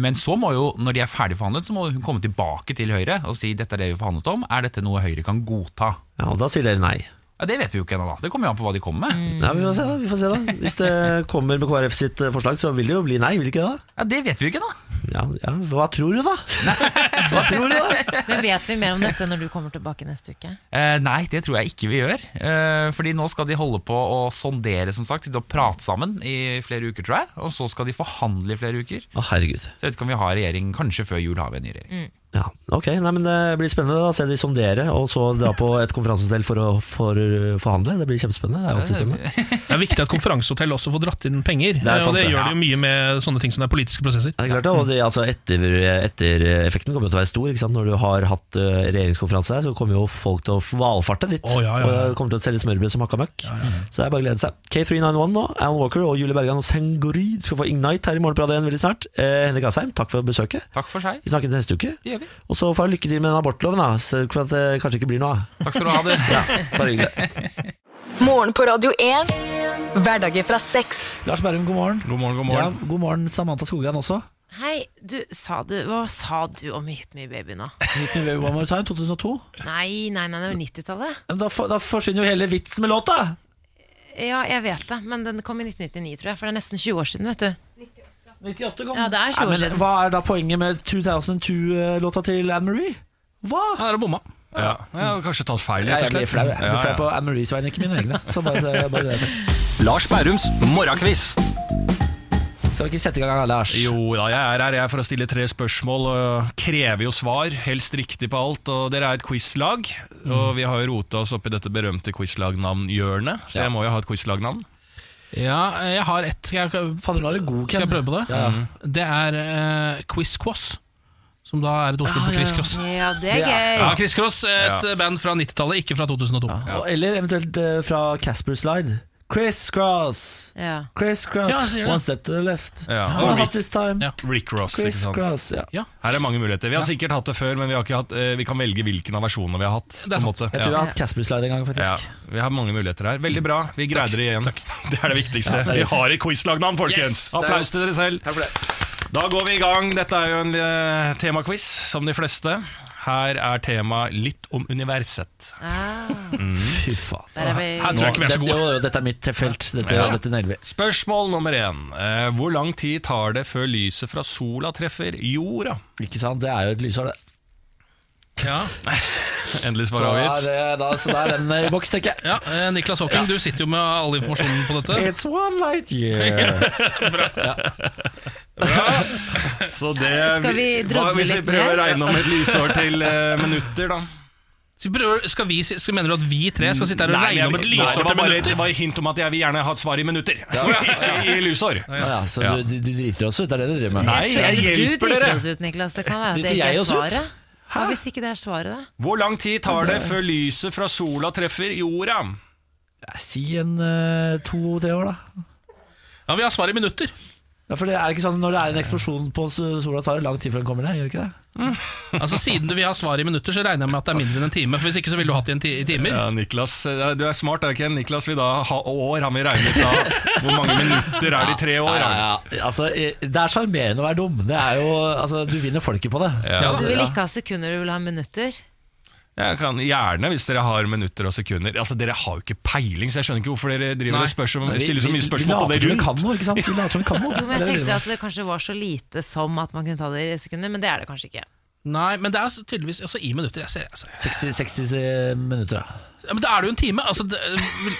S10: Men så må jo, når de er ferdig forhandlet, så må hun komme tilbake til Høyre og si dette er det vi forhandlet om, er dette noe Høyre kan godta?
S1: Ja, og da sier dere nei.
S10: Ja, Det vet vi jo ikke ennå, da. Det kommer jo an på hva de kommer med.
S1: Ja, vi får se da, vi får se da. Hvis det kommer med KrF sitt eh, forslag, så vil det jo bli nei, vil det ikke det da?
S10: Ja, Det vet vi jo ikke, da.
S1: Ja, ja, hva tror du da? Hva tror du da?
S2: Men vet vi mer om dette når du kommer tilbake neste uke?
S10: Eh, nei, det tror jeg ikke vi gjør. Eh, fordi nå skal de holde på å sondere, som sagt. De har pratet sammen i flere uker, tror jeg. Og så skal de forhandle i flere uker.
S1: Å, herregud.
S10: Så jeg vet ikke om vi har regjering. Kanskje før jul har vi en ny regjering.
S1: Ja, ok, nei, men eh, det blir spennende da, se de sondere, og så dra på et konferansestell for å for, eh, forhandle. Det blir kjempespennende, det er jo alltid spennende.
S3: Det er viktig at konferansehotell også får dratt inn penger.
S1: Det er sant,
S3: og det
S1: det.
S3: gjør de jo mye med sånne ting som det er politiske prosesser.
S1: Ja, det er klart det, og det, altså etter, ettereffekten kommer jo til å være stor, ikke sant? Når du har hatt eh, regjeringskonferanse her, så kommer jo folk til å valfarte ditt,
S3: Å, ja, ja, ja.
S1: og det kommer til å selge smørbrød som hakka møkk. Så det er bare å glede seg. K391 nå, Alan Walker og Julie Bergan og Sengory skal få Ignite her i morgen på Radio 1 veldig snart. Eh, Henrik Asheim, takk for besøket.
S10: Takk for seg.
S1: Vi snakkes neste uke.
S10: Det gjør vi.
S2: gjør vi.
S1: Og så får jeg lykke til med den abortloven, da. Så for at det kanskje ikke blir noe av.
S10: Takk skal du ha, du.
S1: Ja, bare hyggelig.
S4: Morgen på Radio 1. Hverdager fra seks.
S1: Lars Berrum, god morgen.
S10: God morgen, god
S1: Ja,
S10: morgen.
S1: god morgen, Samantha Skogran også.
S2: Hei, du, sa du, hva sa du om Hit Me Baby nå?
S1: Hit me baby one more time, 2002.
S2: Nei, nei, nei, det var 90-tallet.
S1: Men Da, for- da forsvinner jo hele vitsen med låta!
S2: Ja, jeg vet det, men den kom i 1999, tror jeg. For det er nesten 20 år siden, vet du.
S1: 98 kom
S2: Ja, det er 20 år
S1: Nei, men
S2: siden.
S1: Hva er da poenget med 2002-låta til Anne-Marie? Hva?
S3: Ja, der er det bomma.
S11: Ja. Jeg har kanskje tatt feil,
S1: Ja,
S11: rett
S1: jeg
S11: og
S1: blir
S11: slett.
S1: flau jeg. Jeg
S11: Ja,
S1: blir flau
S11: ja.
S1: på Anne-Maries vegne, ikke mine egne. Så bare, så, bare det jeg har sagt.
S11: Lars Bærums morgenkviz.
S1: Skal vi ikke sette i gang, Lars?
S11: Jo da, jeg er her jeg er for å stille tre spørsmål. Og krever jo svar, helst riktig på alt. Og dere er et quizlag,
S1: Mm.
S11: og vi har jo rota oss opp i dette berømte quizlagnavnhjørnet, så jeg må jo ha et quizlagnavn.
S3: Ja, jeg har ett. Skal jeg,
S1: Fader, nå er du god, Ken.
S3: skal jeg prøve på det? Det er eh, Quiz Quoss, som da er et Oslo på Chris Cross.
S2: Ja, det er
S1: Det er-
S2: gøy.
S3: Ja, Chris Cross, et eh, band fra 90-tallet, ikke fra 2002.
S1: Og- Eller eventuelt eh, fra Casper Slide. Criss Cross,
S2: Ja.
S1: Criss Cross,
S3: Ja, jeg sier det.
S1: one step to the left.
S11: Ja.
S1: One
S11: Og
S1: hot
S11: Rick,
S1: this time.
S3: Ja.
S11: Rick Ross, ikke
S1: Criss
S11: sant.
S1: Cross. Ja.
S11: Her er mange muligheter. Vi har sikkert hatt det før, men vi, har ikke hatt, eh, vi kan velge hvilken av versjonene vi har hatt.
S3: Det er
S11: på en
S3: sant.
S11: måte.
S1: Jeg tror jeg har hatt Casper Slide en gang,
S11: Ja,
S1: faktisk.
S11: vi har mange muligheter her. Veldig bra. Vi greide det igjen. Det er det viktigste. Vi har et quizlagnavn, folkens!
S1: Yes, det er godt.
S11: Applaus til dere selv. Da går vi i gang. Dette er jo en eh, temaquiz, som de fleste. Her er temaet litt om universet.
S2: Ah,
S1: Fy faen.
S2: der er vi
S3: Her tror jeg ikke vi er så
S1: Dette-
S3: gode.
S1: jo, jo, Dette er mitt felt. Dette,
S11: Ja.
S1: dette nailer vi.
S11: Spørsmål nummer én. Eh, Hvor lang tid tar det før lyset fra sola treffer jorda?
S1: Ikke sant? Det er jo et lyshår, det.
S3: Ja.
S11: Endelig
S1: Så
S11: svar avgitt.
S1: er, eh, da, så da er den eh, i boks, tenker jeg.
S3: Ja, eh, Niklas Håken, du sitter jo med all informasjonen på dette.
S1: It's one light year.
S11: Så det
S2: Skal vi drodle
S11: Hva Hvis vi
S2: litt
S11: prøver å
S2: mer?
S11: regne om et lysår til eh, minutter, da?
S3: Skal vi prøve- skal vi, si- skal, mener du at vi tre skal sitte her og
S11: Nei,
S3: regne
S11: jeg-
S3: om et
S11: nei,
S3: lysår
S11: det var
S3: til
S11: bare-
S3: minutter?
S11: Det var et hint om at jeg vil gjerne ha et svar i minutter. Ikke i lysår.
S1: Å ja, så
S11: Ja.
S1: Du, du driter oss ut, det er det du driver med?
S11: Nei,
S2: tror-
S11: jeg
S2: eller
S11: hjelper
S2: Du driter
S11: dere.
S2: oss ut, Niklas. Det kan være at
S1: Driter
S2: det ikke
S1: jeg
S2: er
S1: oss ut?
S2: svaret. Hva hvis ikke det er svaret, da?
S11: Hvor lang tid tar det før lyset fra sola treffer jorda?
S1: Nei, Si en eh, to-tre år, da.
S3: Ja, Vi har svar i minutter.
S1: Ja, for det er ikke sånn Når det er en eksplosjon på s- sola, tar det lang tid før den kommer ned? Gjør det ikke det?
S3: Altså Siden du vil ha svar i minutter, så regner jeg med at det er mindre enn en time. For Hvis ikke så ville du hatt det i en ti i timer.
S11: Ja, Niklas, eh, Du er smart, er du ikke? Niklas vil da ha år. Han vil regne ut da hvor mange minutter er det i tre år. han.
S1: Altså, eh, det er sjarmerende å være dum. Det er jo, altså, du vinner folket på det.
S3: Ja,
S2: Du vil ikke ha sekunder, du vil ha minutter.
S11: Jeg kan Gjerne hvis dere har minutter og sekunder. Altså, Dere har jo ikke peiling, så jeg skjønner ikke hvorfor dere driver
S3: Nei.
S11: og spør så,
S1: Vi-
S11: stiller så
S1: vi-
S11: mye spørsmål på det
S1: Vi later som vi kan
S11: rundt.
S1: noe, ikke sant? Vi later som vi kan noe.
S2: Jo,
S1: Det er
S2: men Jeg
S1: det vi
S2: tenkte
S1: driver
S2: at det kanskje var så lite som at man kunne ta det i sekunder, men det er det kanskje ikke.
S3: Nei, men det er så tydeligs altså, i minutter. Jeg ser, jeg ser.
S1: med. 60, 60 minutter, da.
S3: Ja, men da er det jo en time. Altså, det, vil,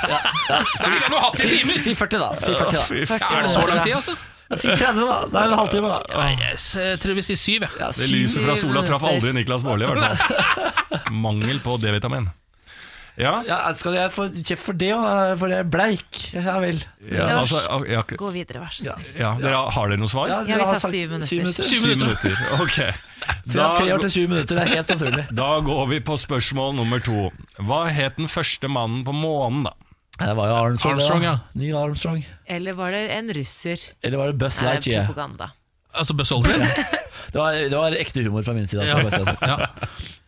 S3: Nei, vi har hatt det i
S1: Si,
S3: timer!
S1: si 40, da. Si 40, da.
S3: Ja, er det så lang tid, altså? eh,
S1: Si 30, da. Det er en halvtime, da.
S3: Nei, jeg s- jeg tror vi sier syv. Jeg.
S1: Ja,
S11: Det
S1: syv-
S11: lyset fra sola traff
S2: minutter.
S11: aldri Niklas Baarli, i hvert fall. Mangel på D-vitamin. Ja,
S1: Ja, skal jeg få kjeft for det òg? For jeg er bleik. Ja vel.
S11: ja,
S2: Lars.
S11: altså, ja,
S2: Gå videre, vær så snill.
S11: ja, dere, Har dere noe svar?
S1: Ja,
S2: vi
S1: dere har
S2: sa
S1: sagt
S2: syv minutter.
S3: Syv
S11: Syv
S3: minutter.
S11: minutter. Ok.
S1: Fra
S11: Da-
S1: tre år til syv minutter. Det er helt naturlig.
S11: Da går vi på spørsmål nummer to. Hva het den første mannen på månen, da?
S1: Det var jo Armstrong,
S3: Armstrong,
S1: det, da.
S3: ja.
S1: Neil Armstrong.
S2: Eller var det en russer?
S1: Eller var det Buzz
S2: Nei,
S1: Lightyear?
S2: propaganda.
S3: Altså Buzz Aldrin.
S1: Det var, det var ekte humor fra min side. Altså,
S3: Ja.
S1: bare så jeg sier.
S3: Ja.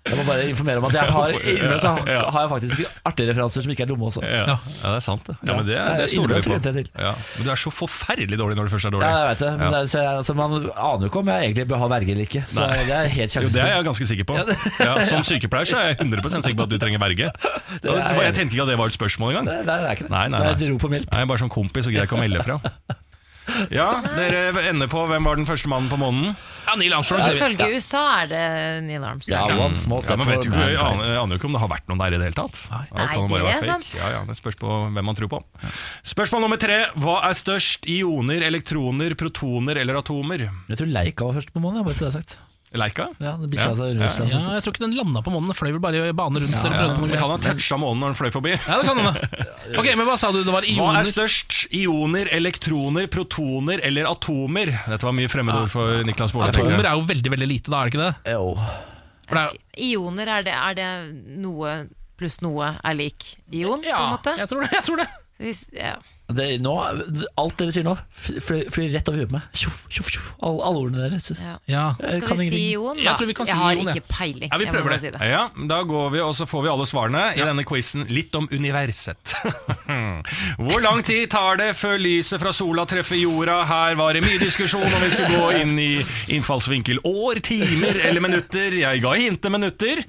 S1: Jeg må bare informere om at jeg har, innimellom så har- har jeg faktisk artige referanser som ikke er dumme også.
S11: Ja, det er sant, det. Ja, men det,
S1: Ja,
S11: det stoler vi
S1: innimellom
S11: på.
S1: så glemte jeg
S11: Ja. Men du er så forferdelig dårlig når du først er
S1: Ja,
S11: dårlig.
S1: jeg vet det, men
S11: Ja.
S1: det er, så jeg, altså, Man aner jo ikke om jeg egentlig bør ha verge eller ikke. Så
S11: Nei.
S1: det er helt
S11: Jo, det er
S1: sjansespill.
S11: jeg ganske sikker på. Ja, som sykepleier så er jeg 100 sikker på at du trenger verge. Og Jeg tenkte ikke at det var et spørsmål engang.
S1: Nei, nei, det er ikke det.
S11: Nei, nei,
S1: det
S11: nei.
S1: er et rop om hjelp.
S11: Nei, bare som kompis og greier ikke å melde fra. Ja, dere ender på hvem var den første mannen på månen?
S3: Ja, Neil Armstrong, sier vi.
S2: Ifølge USA er det Neil Armstrong.
S1: Ja, one small
S11: Ja,
S1: step
S11: men
S1: for
S11: vet jo ikke, jeg aner,
S1: mankind.
S11: jeg aner jo ikke om det har vært noen der i det hele tatt. Alt
S2: Nei,
S11: kan jo bare
S2: det
S11: være
S2: er
S11: fake.
S2: sant.
S11: Ja, ja, det spørs på hvem man tror på. Spørsmål nummer tre. Hva er størst? Ioner, elektroner, protoner eller atomer?
S1: Jeg tror Leika var først på månen, jeg, bare så det er sagt.
S11: Leika?
S1: Ja, den bikkja
S11: Ja.
S1: sa Russland.
S3: Ja, jeg tror ikke den landa på månen. Den fløy vel bare i bane rundt. eller
S11: Ja,
S3: prøvde noe
S11: vi
S3: mer.
S11: kan ha toucha månen når den fløy forbi.
S3: Ja, det kan hende. Ok, men hva sa du? Det var
S11: Hva er
S3: ioner?
S11: størst? Ioner, elektroner, protoner eller atomer? Dette var mye fremmedord for Niklas Baarli. tenker
S3: Atomer
S11: jeg.
S3: er jo veldig veldig lite, da, er det ikke det?
S1: Jo.
S3: For det er,
S2: Ioner, er det, er det noe pluss noe er lik ion, på en måte?
S3: jeg tror det. jeg tror det
S2: Hvis, ja.
S1: Det Det, nå, alt dere sier nå, fly- fly- flyr rett over huet på meg. Tjoff, tjoff, tjoff. Alle, alle ordene deres. Jeg
S2: Skal
S1: kan
S2: vi si
S1: ingenting.
S2: Jon, da?
S11: Jeg tror vi kan si
S2: har
S11: Jon, ja.
S2: ikke peiling.
S11: Ja, vi
S2: jeg må
S11: prøver
S2: bare
S11: det.
S2: si
S11: Ja, da går vi, og så får vi alle svarene i denne quizen litt om universet. Hvor lang tid tar det før lyset fra sola treffer jorda? Her var det mye diskusjon om vi skulle gå inn i innfallsvinkel år, timer eller minutter. Jeg ga hintet minutter.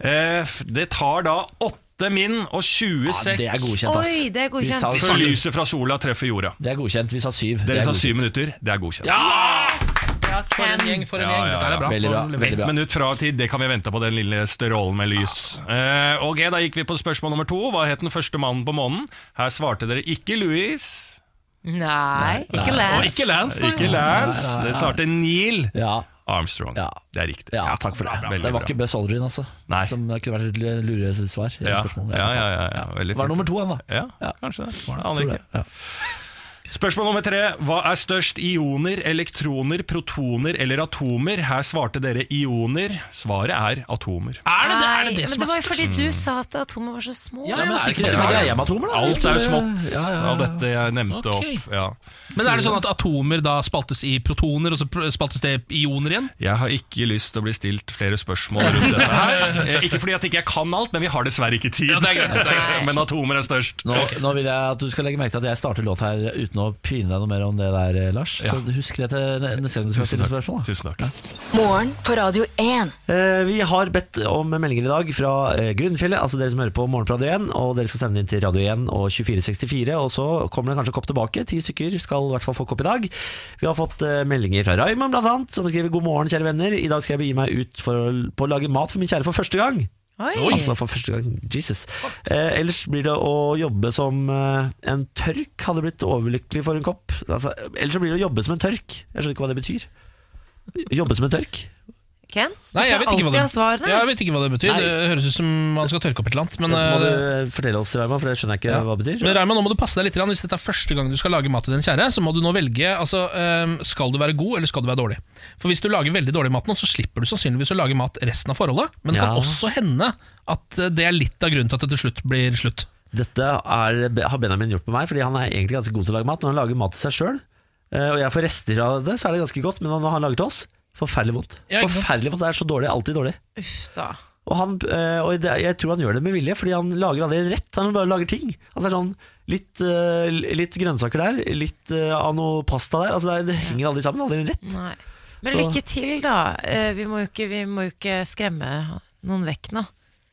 S11: Eh, f- Det tar da åtte min og 20 sekk
S1: det er godkjent, ass. Oi, det er godkjent. Vi sa-
S11: før lyset fra sola treffer jorda.
S1: Det er godkjent. Vi sa syv. Det
S11: Dere
S1: er
S11: sa
S1: godkjent.
S11: syv minutter. Det er godkjent.
S3: For en gjeng, for en gjeng. Dette er bra.
S1: Veldig bra,
S3: Nå leverer
S1: veldig
S11: Ett
S1: bra.
S11: minutt fra tid, det kan vi vente på den lille sterolen med lys. Eh, ok, Da gikk vi på spørsmål nummer to. Hva het den første mannen på månen? Her svarte dere ikke Louis.
S2: det. Nei, ikke
S3: Og
S2: Lance.
S3: ikke Lance, nei.
S11: Ikke Lance. Dere svarte Neil
S1: Ja.
S11: Armstrong. Det er riktig.
S1: Ja, takk for det.
S11: Bra,
S1: det
S11: veldig
S1: var
S11: bra.
S1: ikke Buzz Aldrin, altså.
S11: Nei.
S1: Som kunne vært et lure svar. i
S11: Ja,
S1: spørsmålet.
S11: ja, ja, ja, ja, veldig
S1: Var
S11: fint.
S1: nummer to, han, da.
S11: Ja, kanskje det. Aner
S1: Tror det.
S11: ikke. Spørsmål nummer tre. Hva er størst? Ioner, elektroner, protoner eller atomer? Her svarte dere ioner. Svaret er atomer.
S3: Er det det, er det,
S2: Nei,
S3: det
S2: men
S3: som
S2: det var
S3: er
S2: jo fordi
S3: størst?
S2: du sa at atomer var så små.
S3: Ja, ja,
S1: Men er det ikke det
S3: sikkert.
S1: som er greia med atomer, da?
S11: Alt er jo
S1: Jeg tror det-
S11: smått
S1: Ja, ja,
S11: av dette jeg nevnte
S3: Ok.
S11: opp. Ja.
S3: Men er det sånn at atomer da spaltes i protoner, og så pr- spaltes det i ioner igjen?
S11: Jeg har ikke lyst til å bli stilt flere spørsmål rundt dette her. Eh, Ikke fordi at ikke jeg kan alt, men vi har dessverre ikke tid.
S3: Ja, det er greit, det er greit.
S11: Men atomer er størst.
S1: Nå, nå vil jeg at du skal legge merke til at jeg starter låt her uten å pine deg noe mer om det der, eh, Lars. Så husk det til ne- neste gang du skal
S11: Tusen
S1: stille
S11: takk.
S1: spørsmål. da.
S11: Tusen takk.
S4: Morgen på Radio 1.
S1: Eh, Vi har bedt om meldinger i dag fra eh, Grunnfjellet, altså dere som hører på Morgen på Radio 1, og dere skal sende inn til Radio 1 og 2464, og så kommer det kanskje en kopp tilbake. Ti stykker skal i hvert fall få kopp i dag. Vi har fått eh, meldinger fra Raymond blant annet, som skriver God morgen, kjære venner. I dag skal jeg begi meg ut for, på å lage mat for min kjære for første gang.
S2: Oi.
S1: Altså for første gang. Jesus. Eh, ellers blir det å jobbe som eh, en tørk, hadde blitt overlykkelig for en kopp. Altså, ellers så blir det å jobbe som en tørk. Jeg skjønner ikke hva det betyr. Jobbe som en tørk?
S2: Ken?
S3: Nei, jeg vet ikke hva det,
S2: Alltid har svarene.
S3: Ja, jeg vet ikke hva det betyr.
S1: Nei.
S3: Det høres ut som man skal tørke opp et eller annet. Men,
S1: Dette må
S3: eh,
S1: du fortelle oss, Raymond, for det skjønner jeg ikke
S3: ja.
S1: hva det betyr.
S3: men Raymond, nå må du passe deg litt. grann. Hvis dette er første gang du skal lage mat til din kjære, så må du nå velge altså, eh, skal du være god eller skal du være dårlig. For hvis du lager veldig dårlig mat nå, så slipper du sannsynligvis å lage mat resten av forholdet. Men det
S1: Ja.
S3: kan også hende at eh, det er litt av grunnen til at det til slutt blir slutt.
S1: Dette er, har Benjamin gjort med meg, fordi han er egentlig ganske god til å lage mat. Når han lager mat til seg sjøl, og jeg får rester av det, så er det ganske godt, men når han lager til oss, forferdelig vondt.
S3: Ja, ikke sant?
S1: forferdelig vondt, Det er så dårlig, alltid dårlig.
S2: Uff da.
S1: Og, han, eh, og det, jeg tror han gjør det med vilje, fordi han lager aldri rett. Han bare lager ting. Altså det er sånn Litt, eh, litt grønnsaker der, litt eh, av noe pasta der. Altså det, er- det henger aldri sammen. Aldri rett.
S2: Nei. Men
S1: Så-
S2: lykke til, da. Eh, Vi må jo ikke, vi må jo ikke skremme noen vekk nå.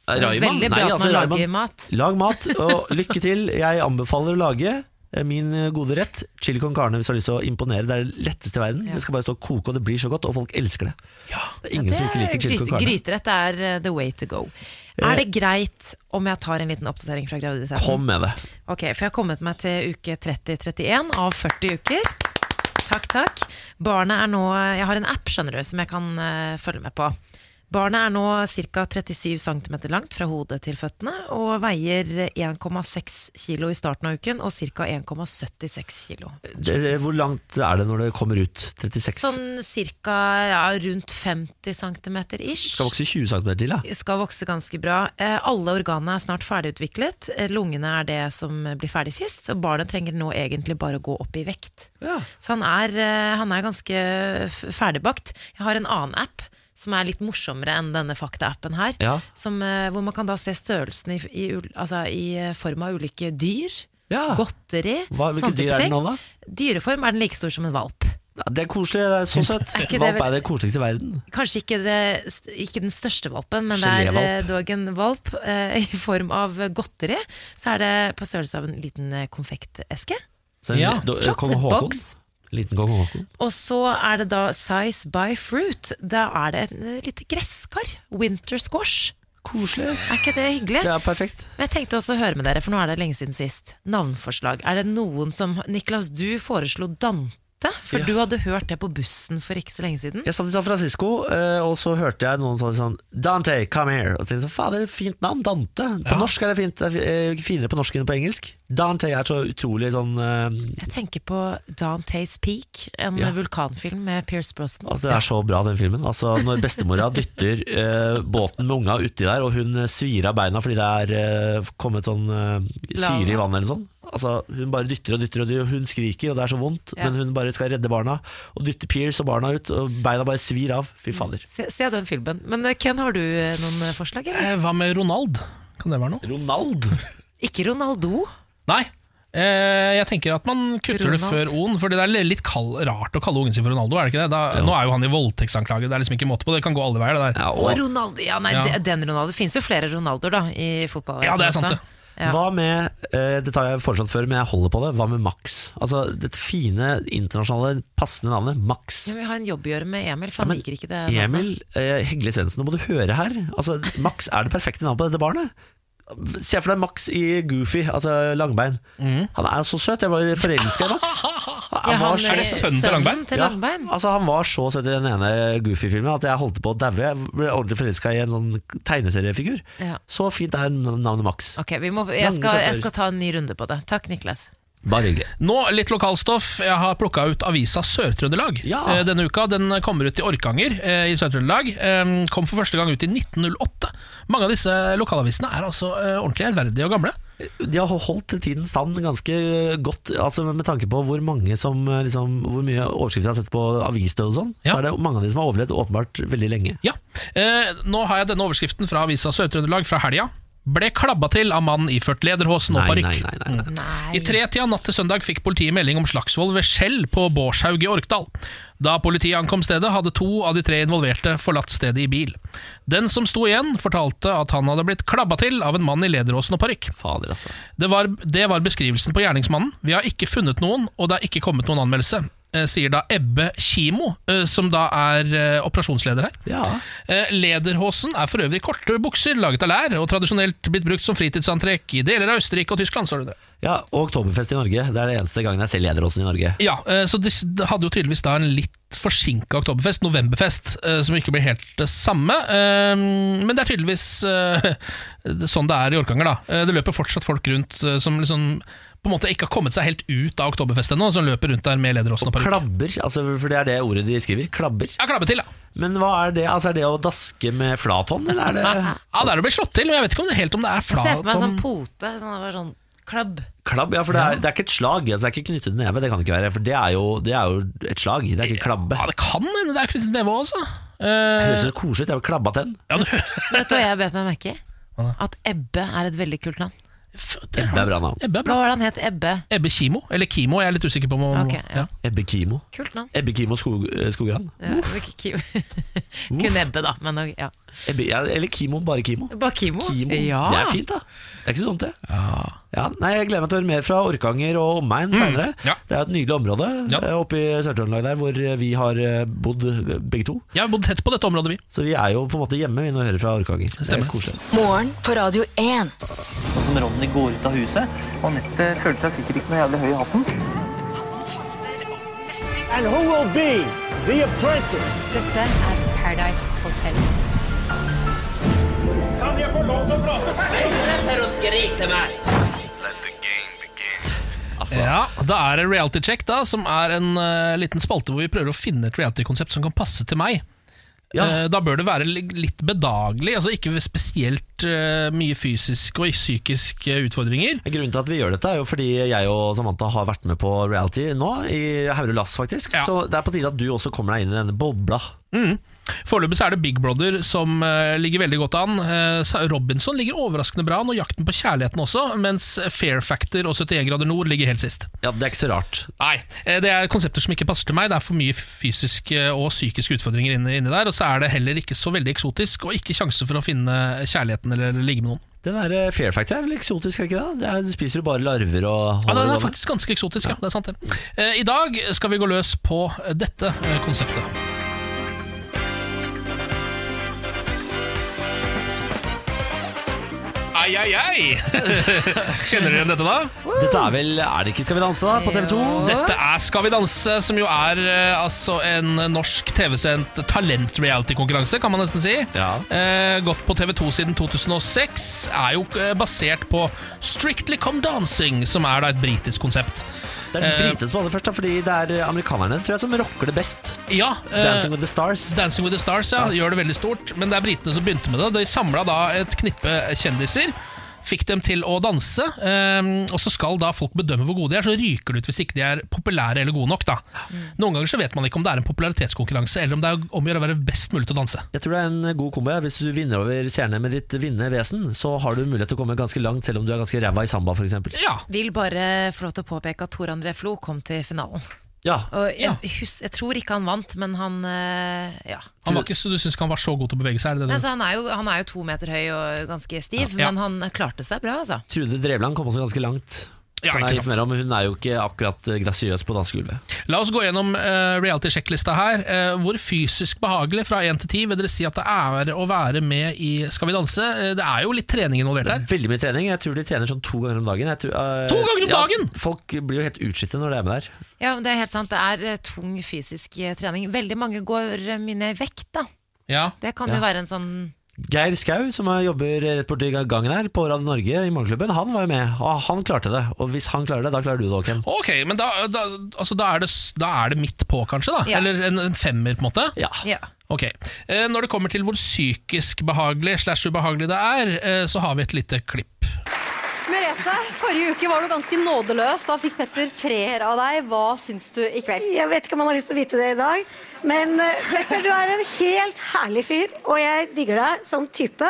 S1: Eh,
S2: Det er
S1: Raymond?
S2: Veldig bra
S1: Nei,
S2: at
S1: altså,
S2: man
S1: Raymond-
S2: lager mat.
S1: Lag mat, og lykke til. Jeg anbefaler å lage eh, min gode rett, chili con carne, hvis du har lyst til å imponere. Det er det letteste i verden.
S2: Ja.
S1: Det skal bare stå og koke, og det blir så godt, og folk elsker det. Det er ingen som ikke liker chili
S2: gryte-
S1: con carne.
S2: Gryterett er eh, the way to go. Er det greit om jeg tar en liten oppdatering fra graviditeten?
S1: Kom med det.
S2: Ok, for jeg har kommet meg til uke 30-31 av 40 uker. Takk, takk. Barnet er nå Jeg har en app, skjønner du, som jeg kan eh, følge med på. Barnet er nå ca. 37 cm langt fra hodet til føttene og veier 1,6 kg i starten av uken og ca. 1,76 kg.
S1: det. det- eh, Hvor langt er det når det kommer ut? 36?
S2: Sånn ca. Ja, rundt 50 cm ish.
S1: Skal vokse 20 cm til, ja.
S2: skal vokse ganske bra. Eh, alle organene er snart ferdigutviklet. Eh, lungene er det som blir ferdig sist, og barnet trenger nå egentlig bare å gå opp i vekt.
S1: Ja.
S2: Så han er, eh, han er ganske f- ferdigbakt. Jeg har en annen app som er litt morsommere enn denne fakta-appen her.
S1: Ja.
S2: Som, eh, hvor man kan da se størrelsen i, i, ul- altså, i eh, form av ulike dyr.
S1: Ja.
S2: Godteri.
S1: Hva- hvilke
S2: sånne
S1: dyr
S2: type
S1: er den
S2: ting.
S1: nå, da?
S2: Dyreform er den like stor som en valp.
S1: Ja, Det er koselig. Det er så søtt.
S2: Er ikke det
S1: Valp
S2: vel-
S1: er det koseligste i verden.
S2: Kanskje ikke, det, ikke den største valpen, men det er eh,
S1: Gelévalp.
S2: dog en valp eh, i form av godteri. Så er det på størrelse av en liten eh, konfekteske.
S1: Så en-
S3: Ja.
S1: da- eh, kong
S2: Chocolate
S1: Haakon.
S2: box.
S1: Liten kong Håkon.
S2: Og så er det da size by fruit. Da er det et eh, lite gresskar. Winter squash.
S1: Koselig.
S2: Er ikke det hyggelig?
S1: Det er perfekt.
S2: Men Jeg tenkte også å høre med dere, for nå er det lenge siden sist. Navnforslag. Er det noen som Niklas, du foreslo Dante, for du hadde hørt det på bussen for ikke så lenge siden.
S1: Jeg satt i San Francisco, eh, og så hørte jeg noen sa sånn Dante, come here. Og tenkte sånn, faen, det er et fint navn. Dante. På norsk er det fint. Det er fi- eh, finere på norsk enn på engelsk. Dante er så utrolig sånn eh,
S2: Jeg tenker på Dante's Peak, en
S1: Ja.
S2: vulkanfilm med Pierce Brosnan.
S1: At det er så bra, den filmen. Altså Når bestemora dytter eh, båten med unga uti der, og hun svir av beina fordi det er eh, kommet sånn eh, syre i vannet eller noe sånt. altså, hun bare dytter og dytter, og dytter, og hun skriker, og det er så vondt,
S2: Ja.
S1: men hun bare skal redde barna. Og dytter Pierce og barna ut, og beina bare svir av. Fy fader.
S2: Se, se den filmen. Men eh, Ken, har du eh, noen eh, forslag?
S3: Eh,
S2: Eller?
S3: Hva med Ronald? Kan det være noe?
S1: Ronald?
S2: Ikke Ronaldo.
S3: Nei. Eh, jeg tenker at man kutter det
S2: Ronald.
S3: før O-en, for det er litt kall, rart å kalle ungen sin for Ronaldo. er det ikke det? Da, Nå er jo han i voldtektsanklage, det er liksom ikke måte på. Det kan gå alle veier, det der.
S2: Og Ronaldo. Ja, nei,
S3: Ja.
S2: de- den Ronaldo. Det fins jo flere Ronaldoer, da, i fotballverdenen.
S3: Ja, det er sant,
S2: også.
S3: det.
S2: Ja.
S1: Hva med eh, Dette har jeg foreslått før, men jeg holder på det. Hva med Max? Altså Dette fine, internasjonale, passende navnet Max.
S2: Men vi har en jobb å gjøre med Emil, for han liker ikke det. navnet.
S1: Emil eh, Hegle Svendsen, nå må du høre her. Altså, Max er det perfekte navnet på dette barnet. Se for deg Max i Goofy, altså Langbein. Han er så søt. Jeg var forelska i Max.
S2: Ja,
S1: var
S2: han
S1: så-
S2: er- Er det sønnen til sønnen Langbein? til Langbein?
S1: Ja, altså, han var så søt i den ene Goofy-filmen at jeg holdt på å daue. Jeg ble ordentlig forelska i en sånn tegneseriefigur.
S2: Ja.
S1: Så fint er navnet Max.
S2: Ok, vi må, jeg,
S1: Lange
S2: skal, jeg
S1: setter.
S2: skal ta en ny runde på det. Takk, Niklas.
S1: Bare hyggelig.
S3: Nå litt lokalstoff. Jeg har plukka ut avisa Sør-Trøndelag eh, denne uka. Den kommer ut i Orkanger eh, i Sør-Trøndelag. Eh, kom for første gang ut i 1908. Mange av disse lokalavisene er altså eh, ordentlig ærverdige og gamle.
S1: De har holdt tiden stand ganske godt, altså med tanke på hvor mange som eh, liksom, Hvor mye overskrifter jeg har sett på avisdød og sånn. Så er det mange av de som har overlevd åpenbart veldig lenge.
S3: Ja, eh, Nå har jeg denne overskriften fra avisa Sør-Trøndelag fra helga. Ble klabba til av mannen iført lederhosen og
S1: Nei, nei,
S3: parykk.
S1: nei, nei, nei.
S3: I tretida natt til søndag fikk politiet melding om slagsvold ved Skjell på Bårshaug i Orkdal. Da politiet ankom stedet, hadde to av de tre involverte forlatt stedet i bil. Den som sto igjen, fortalte at han hadde blitt klabba til av en mann i lederåsen og parykk.
S1: Fader, altså.
S3: Det var, det var beskrivelsen på gjerningsmannen. Vi har ikke funnet noen, og det er ikke kommet noen anmeldelse. eh, Sier da Ebbe Kimo, eh, som da er eh, operasjonsleder her. Eh, Lederhosen er for øvrig korte bukser laget av lær, og tradisjonelt blitt brukt som fritidsantrekk i deler av Østerrike og Tyskland. så er det det.
S1: Ja, og Oktoberfest i Norge. Det er det eneste gangen jeg ser lederåsen i Norge.
S3: Ja, eh, så de s- de hadde jo tydeligvis da en litt forsinka oktoberfest, novemberfest, eh, som ikke blir helt det samme. Eh, Men det er tydeligvis eh, det- sånn det er i Orkanger, da. Eh, Det løper fortsatt folk rundt eh, som liksom på en måte ikke har kommet seg helt ut av oktoberfest ennå, som løper rundt der med lederåsen og parykk.
S1: Klabber, altså, for det er det ordet de skriver. Klabber.
S3: Ja, klabbe til, ja.
S1: Men hva er det? Altså, er det å daske med flat hånd, eller er det
S3: Ja, der du blir slått til, men jeg vet ikke om det helt om det er
S2: Jeg ser for meg en sånn
S3: flathånd.
S2: pote. Sånn, bare sånn klabb.
S1: Klabb, ja, for det er, det er ikke et slag. Altså, det er ikke knyttet neve, det kan det ikke være. For det er jo, det er jo et slag, det er ikke klabbe.
S3: Ja, det kan hende det er knyttet neve også.
S1: Det
S3: Eh,
S1: høres så koselig ut. Jeg har klabba tenn.
S2: Vet du hva jeg bet meg merke i? At Ebbe er et veldig kult navn.
S1: Det er bra navn.
S3: Ebbe er
S2: Hva
S3: bra.
S2: var det han het? Ebbe?
S3: Ebbe Kimo, eller Kimo, jeg er litt usikker på om
S2: Ok, ja.
S1: Ebbe Kimo.
S2: Kult navn.
S1: Ebbe Kimo Skog, eh, Skogran.
S2: Ja, det var ikke Kim. Kun Ebbe, da. Men ok, ja.
S1: Ebbe, ja, eller Kimo, bare Kimo.
S2: Bare Kimo.
S1: Kimo.
S2: Ja.
S1: Det er fint, da. Det er ikke så dumt, det. Ja, nei, jeg gleder meg til å høre mer fra Orkanger og omegn senere.
S3: ja.
S1: Det er jo et nydelig område eh, oppe i Sør-Trøndelag der hvor vi har eh, bodd eh, begge to.
S3: Jeg har bodd tett på dette området, vi.
S1: Så vi er jo på en måte hjemme vi når vi hører fra Orkanger. Det er koselig.
S4: Morgen på Radio 1.
S12: Som Ronny går ut av huset. Anette føler seg sikkert ikke noe jævlig høy i hatten.
S13: And who will be the apprentice?
S14: Dette er Paradise Hotel.
S13: Kan jeg få lov til å prate
S3: Ja, Da er det Reality Check, da, som er en eh, liten spalte hvor vi prøver å finne et reality-konsept som kan passe til meg. Eh, da bør det være li- litt bedagelig, altså ikke spesielt eh, mye fysisk og psykiske utfordringer.
S1: Grunnen til at vi gjør dette er jo fordi jeg og Samantha har vært med på reality nå, i Haurud Lass faktisk. Så det er på tide at du også kommer deg inn i denne bobla.
S3: Mm. Foreløpig så er det Big Brother som eh, ligger veldig godt an. Eh, Sa- Robinson ligger overraskende bra an, og Jakten på kjærligheten også, mens Fair Factor og 71 grader nord ligger helt sist.
S1: Ja, Det er ikke så rart.
S3: Nei, eh, det er konsepter som ikke passer til meg. Det er for mye fysiske og psykiske utfordringer inni, inni der. Og så er det heller ikke så veldig eksotisk, og ikke sjanse for å finne kjærligheten eller ligge med noen.
S1: Den der eh, Fair Factor er vel eksotisk, er det ikke det? det er, spiser du bare larver og
S3: Ja, Den er Ah, faktisk ganske eksotisk, ja. Det er sant, det. Eh, I dag skal vi gå løs på eh, dette eh, konseptet. Ai, ai, ai! Kjenner dere igjen dette, da?
S1: Dette er vel Er det ikke Skal vi danse, da? På TV 2?
S3: Dette er Skal vi danse, som jo er eh, altså en norsk TV-sendt talent-reality-konkurranse, kan man nesten si. Eh, gått på TV2 siden 2006. Er jo eh, basert på Strictly Come Dancing, som er da et britisk konsept.
S1: Det er
S3: eh,
S1: britene som aller først, da, fordi det er eh, amerikanerne tror jeg, som rocker det best.
S3: Ja, eh,
S1: Dancing with the Stars.
S3: Dancing with the Stars, ja, Gjør det veldig stort. Men det er britene som begynte med det. De samla da et knippe kjendiser. Fikk dem til å danse, eh, og så skal da folk bedømme hvor gode de er. Så ryker det ut hvis ikke de er populære eller gode nok. da Noen ganger så vet man ikke om det er en popularitetskonkurranse, eller om det er om å gjøre å være best mulig til å danse.
S1: Jeg tror det er en eh, god kombo. ja. Hvis du vinner over seerne med ditt vinnende vesen, så har du mulighet til å komme ganske langt, selv om du er ganske ræva i samba, f.eks.
S2: Vil bare få lov til å påpeke at Tor André Flo kom til finalen.
S1: Ja.
S2: Og jeg, hus, jeg tror ikke han vant, men han eh, ja.
S3: Han var ikke, så Du syns ikke han var så god til å bevege seg? Er det det du-
S2: Altså, han, er jo, han er jo to meter høy og ganske stiv,
S1: Mm. Ja.
S2: men han klarte seg bra, altså.
S1: Trude Drevland kom også ganske langt.
S3: Ja,
S1: Kan
S3: ikke
S1: jeg
S3: sant.
S1: informere om Hun er jo ikke akkurat eh, grasiøs på dansegulvet.
S3: La oss gå gjennom eh, reality-sjekklista her. Eh, hvor fysisk behagelig fra 1 til 10 vil dere si at det er å være med i Skal vi danse? Eh, det er jo litt trening involvert her.
S1: Veldig mye trening. Jeg tror de trener sånn to ganger om dagen. Jeg tror, eh,
S3: To ganger om
S1: ja,
S3: dagen?
S1: Folk blir jo helt utslitte når de er med der.
S2: Ja, men Det er helt sant, det er eh, tung fysisk eh, trening. Veldig mange går eh, mye ned i vekt, da. Det kan
S1: Ja.
S2: jo være en sånn
S1: Geir Skau, som er- jobber rett borti gangen her på Radio Norge i Morgenklubben, han var jo med. Og han klarte det. Og hvis han klarer det, da klarer du det, Håken.
S3: Ok, men da, da, altså, da, er det, s- da er det midt på, kanskje? da?
S2: Ja.
S3: Eller en, en femmer, på en måte?
S1: Ja.
S3: Ok, Eh, Når det kommer til hvor psykisk behagelig slash ubehagelig det er, eh, så har vi et lite klipp.
S15: Merete, forrige uke var du ganske nådeløs. Da fikk Petter treer av deg. Hva syns du i kveld?
S16: Jeg vet ikke om han har lyst til å vite det i dag, men eh, Petter, du er en helt herlig fyr, og jeg digger deg som type.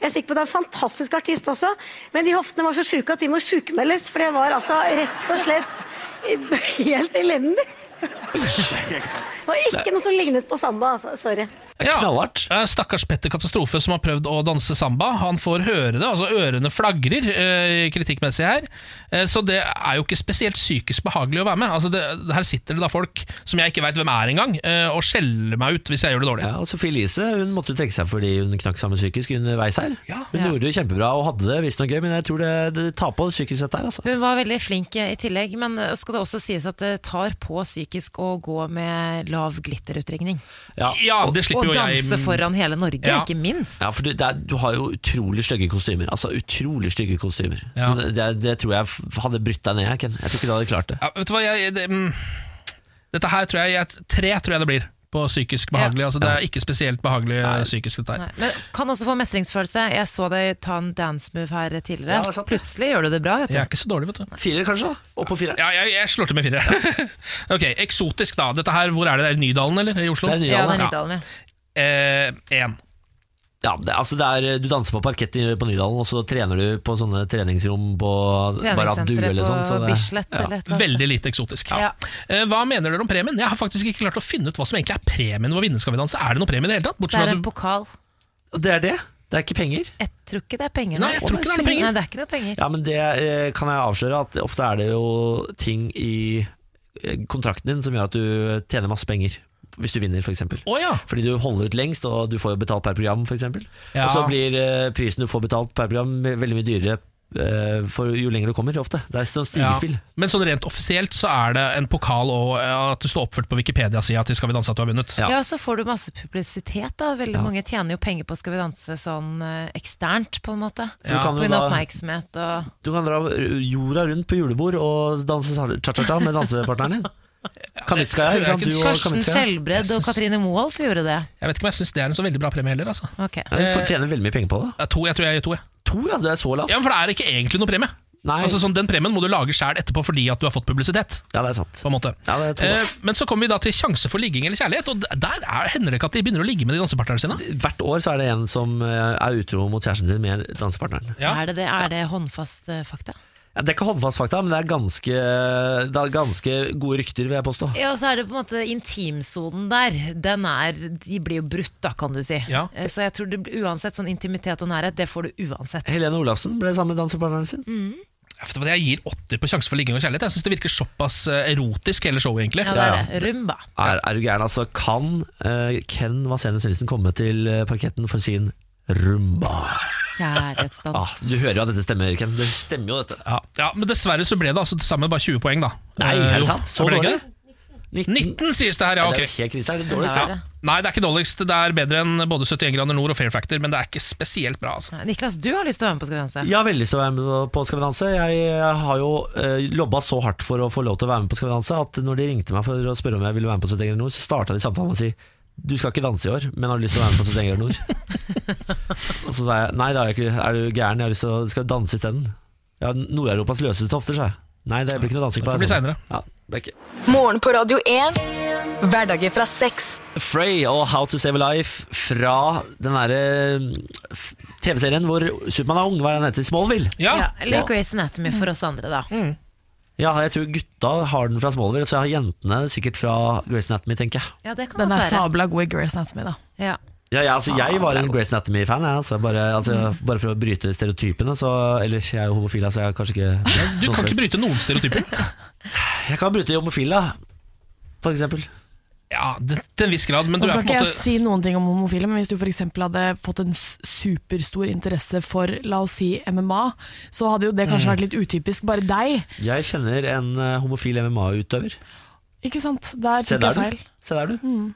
S16: Jeg er sikker på at du er en fantastisk artist også, men de hoftene var så sjuke at de må sjukmeldes, for det var altså rett og slett eh, helt elendig. Det var ikke noe som lignet på samba, altså. Sorry.
S3: Ja. Eh, Stakkars Petter Katastrofe som har prøvd å danse samba. Han får høre det, altså ørene flagrer eh, kritikkmessig her. Eh, så det er jo ikke spesielt psykisk behagelig å være med. Altså det, her sitter det da folk som jeg ikke veit hvem er engang, eh, og skjeller meg ut hvis jeg gjør det dårlig.
S1: Ja, og Sophie Elise hun måtte jo trekke seg fordi hun knakk sammen psykisk underveis her. hun
S2: Ja.
S1: gjorde det kjempebra og hadde det visstnok gøy, men jeg tror det, det tar på psykisk sett der. Altså.
S2: Hun var veldig flink eh, i tillegg, men eh, skal det også sies at det tar på psykisk å gå med lav glitterutringning.
S1: Ja,
S2: og, og danse foran hele Norge, ikke minst.
S1: Ja, for du, det er, du har jo utrolig stygge kostymer. Altså utrolig stygge kostymer. Så det, det, det tror jeg f- hadde brytt deg ned, jeg, Ken. Jeg tror ikke du hadde klart det.
S3: Ja, vet du hva, jeg, det, mm, dette her tror jeg, jeg Tre tror jeg det blir på psykisk behagelig. Altså Det er ikke spesielt behagelig eh, psykisk, dette her.
S2: Men kan også få mestringsfølelse. Jeg så deg ta en dance move her tidligere.
S3: Ja, det er sant.
S2: Plutselig gjør du det bra. Vet du.
S3: Jeg er ikke så dårlig, vet du.
S1: Fire, kanskje? da? Opp på fire?
S3: Ja, jeg, jeg slår til med fire. ok, Eksotisk, da. Dette her, Hvor er det? Det er i Nydalen, eller? I Oslo?
S1: Det er Nydalen, Ja, det er ja. Nydalen,
S3: Eh, en.
S1: Ja, det, altså det er, Du danser på parkett i- på Nydalen, og så trener du på sånne treningsrom på Baradu
S2: Treningssenteret
S1: eller
S2: på
S1: sånn. så det-
S2: Bislett
S1: ja.
S2: eller et eller annet.
S3: Veldig lite eksotisk.
S2: Ja.
S3: Eh, Hva mener dere om premien? Jeg har faktisk ikke klart å finne ut hva som egentlig er premien ved å vinne Skal vi danse. Er det noen premie i det hele tatt?
S2: Det
S3: Bortsett
S2: er
S3: fra
S2: en
S3: at du
S2: pokal.
S1: Det er det? Det er ikke penger?
S2: Jeg tror ikke det er penger.
S3: Nei, jeg tror ikke det er noe penger.
S2: Nei, det er ikke noe penger.
S1: Ja, men det eh, kan jeg avsløre at ofte er det jo ting i eh, kontrakten din som gjør at du tjener masse penger. Hvis du vinner, f.eks. For
S3: oh,
S1: Fordi du holder ut lengst, og du får jo betalt per program, f.eks. eksempel
S3: Ja.
S1: Og så blir eh, prisen du får betalt per program, veldig mye dyrere eh, for jo lenger du kommer, ofte. Det er sånn stigespill.
S3: Ja. Men sånn rent offisielt så er det en pokal og eh, at du står oppført på Wikipedia-sida til Skal vi danse at du har vunnet.
S2: Ja. så får du masse publisitet. da Veldig mange tjener jo penger på Skal vi danse sånn eh, eksternt, på en måte.
S1: Så du kan jo
S2: På en
S1: da-
S2: oppmerksomhet og
S1: Du kan dra jorda rundt på julebord og danse cha-cha-cha med dansepartneren din. Kanitska, ikke sant? Du og
S2: Karsten
S1: Kanitska.
S2: Skjelbred og Katrine Moholt gjorde det.
S3: Jeg vet ikke om jeg syns det er en så veldig bra premie heller. Altså.
S2: Ok.
S1: Ja, du får tjene veldig mye penger på det.
S3: Ja, To, jeg tror jeg gir to. Jeg.
S1: To, ja, det er så lavt.
S3: Ja, men For det er ikke egentlig noe premie. Altså sånn, Den premien må du lage sjæl etterpå fordi at du har fått publisitet.
S1: Ja, det er sant
S3: På en måte
S1: det er to, da.
S3: eh, Men så kommer vi da til sjanse for ligging eller kjærlighet, og d- der er, hender det ikke at de begynner å ligge med de dansepartnerne sine.
S1: Hvert år så er det en som eh, er utro mot kjæresten sin med dansepartneren.
S2: Er det det? Er det håndfast eh, fakta?
S1: Ja, det er ikke håndfast fakta, men det er ganske, det er ganske gode rykter, vil jeg påstå.
S2: Ja, og så er det på en måte intimsonen der. Den er, de blir jo brutt, da, kan du si.
S1: Ja.
S2: Eh, Så jeg tror det, blir- uansett sånn intimitet og nærhet, det får du uansett.
S1: Helene Olafsen ble sammen med dansepartneren sin.
S3: Jeg vet hva, Jeg gir åtter på sjanse for ligging og kjærlighet. Jeg syns det virker såpass eh, erotisk, hele showet, egentlig.
S2: Ja, det er det. Rumba.
S1: Er, er du gæren, altså? Kan eh, Ken Vasenius Nilsen komme til eh, parketten for sin rumba?
S2: Kjærlighetsdans.
S1: Ah, du hører jo at dette stemmer, Ken. Det stemmer jo, dette.
S3: Ja, ja, Men dessverre så ble det altså til sammen bare 20 poeng, da.
S1: Nei,
S3: Eh,
S1: er det
S3: jo,
S1: sant? Så
S3: ble det ikke
S1: dårlig?
S3: det? 19, sies det her, ja.
S1: Ja,
S3: ok
S1: det er jo helt krise. Er det dårligst,
S3: Ja.
S1: det?
S3: Nei, det er ikke dårligst. Det er bedre enn både 71 grader nord og Fair Factor, men det er ikke spesielt bra. altså
S2: Niklas, du har lyst til å være med på Skal vi danse?
S1: Jeg har veldig lyst til å være med på Skal vi danse. Jeg har jo eh, lobba så hardt for å få lov til å være med på Skal vi danse at når de ringte meg for å spørre om jeg ville være med på 71 grader nord, så starta de samtalen med å si du skal ikke danse i år, men har du lyst til å være med på 71 grader nord? og så sa jeg nei, det har jeg ikke. Er du gæren? Jeg har lyst til å skal danse isteden. Ja, Nord-Europas løseste hofter, sa jeg. Nei, det blir ikke noe dansing på
S3: Det får bli senere.
S1: Ja, det er ikke.
S4: Morgen på Radio 1. Hverdager fra seks.
S1: Frey og How to Save a Life fra den derre f- TV-serien hvor Supermann er ung, hva er den heter? Smallville?
S2: Ja, eller Grace Anatomy for oss andre, da.
S1: Mm. Ja, jeg tror gutta har den fra Smallville, så jeg har jentene sikkert fra Grace Anatomy, tenker jeg.
S2: Ja, det kan
S17: Den
S2: godt
S17: der
S2: være.
S17: sabla gode Grace Anatomy, da.
S2: Ja.
S1: Ja, ja, altså, jeg var en Grace Anatomy-fan, jeg, altså, bare, altså, bare for å bryte stereotypene. Så, ellers jeg er jo homofil, så jeg har kanskje ikke
S3: Du kan ikke bryte noen stereotyper.
S1: Jeg kan bryte homofil, da. For eksempel.
S3: Ja, det- til en viss grad, men
S17: Nå
S3: du er
S17: skal
S3: på
S17: ikke
S3: en
S17: jeg
S3: måte
S17: si noen ting om homofile, men hvis du f.eks. hadde fått en s- superstor interesse for, la oss si, MMA, så hadde jo det kanskje
S1: Mm.
S17: vært litt utypisk. Bare deg,
S1: Jeg kjenner en eh, homofil MMA-utøver.
S17: ikke sant? Der
S1: Se
S17: tok jeg
S1: der,
S17: feil.
S1: du. Se der, du.
S17: Mm.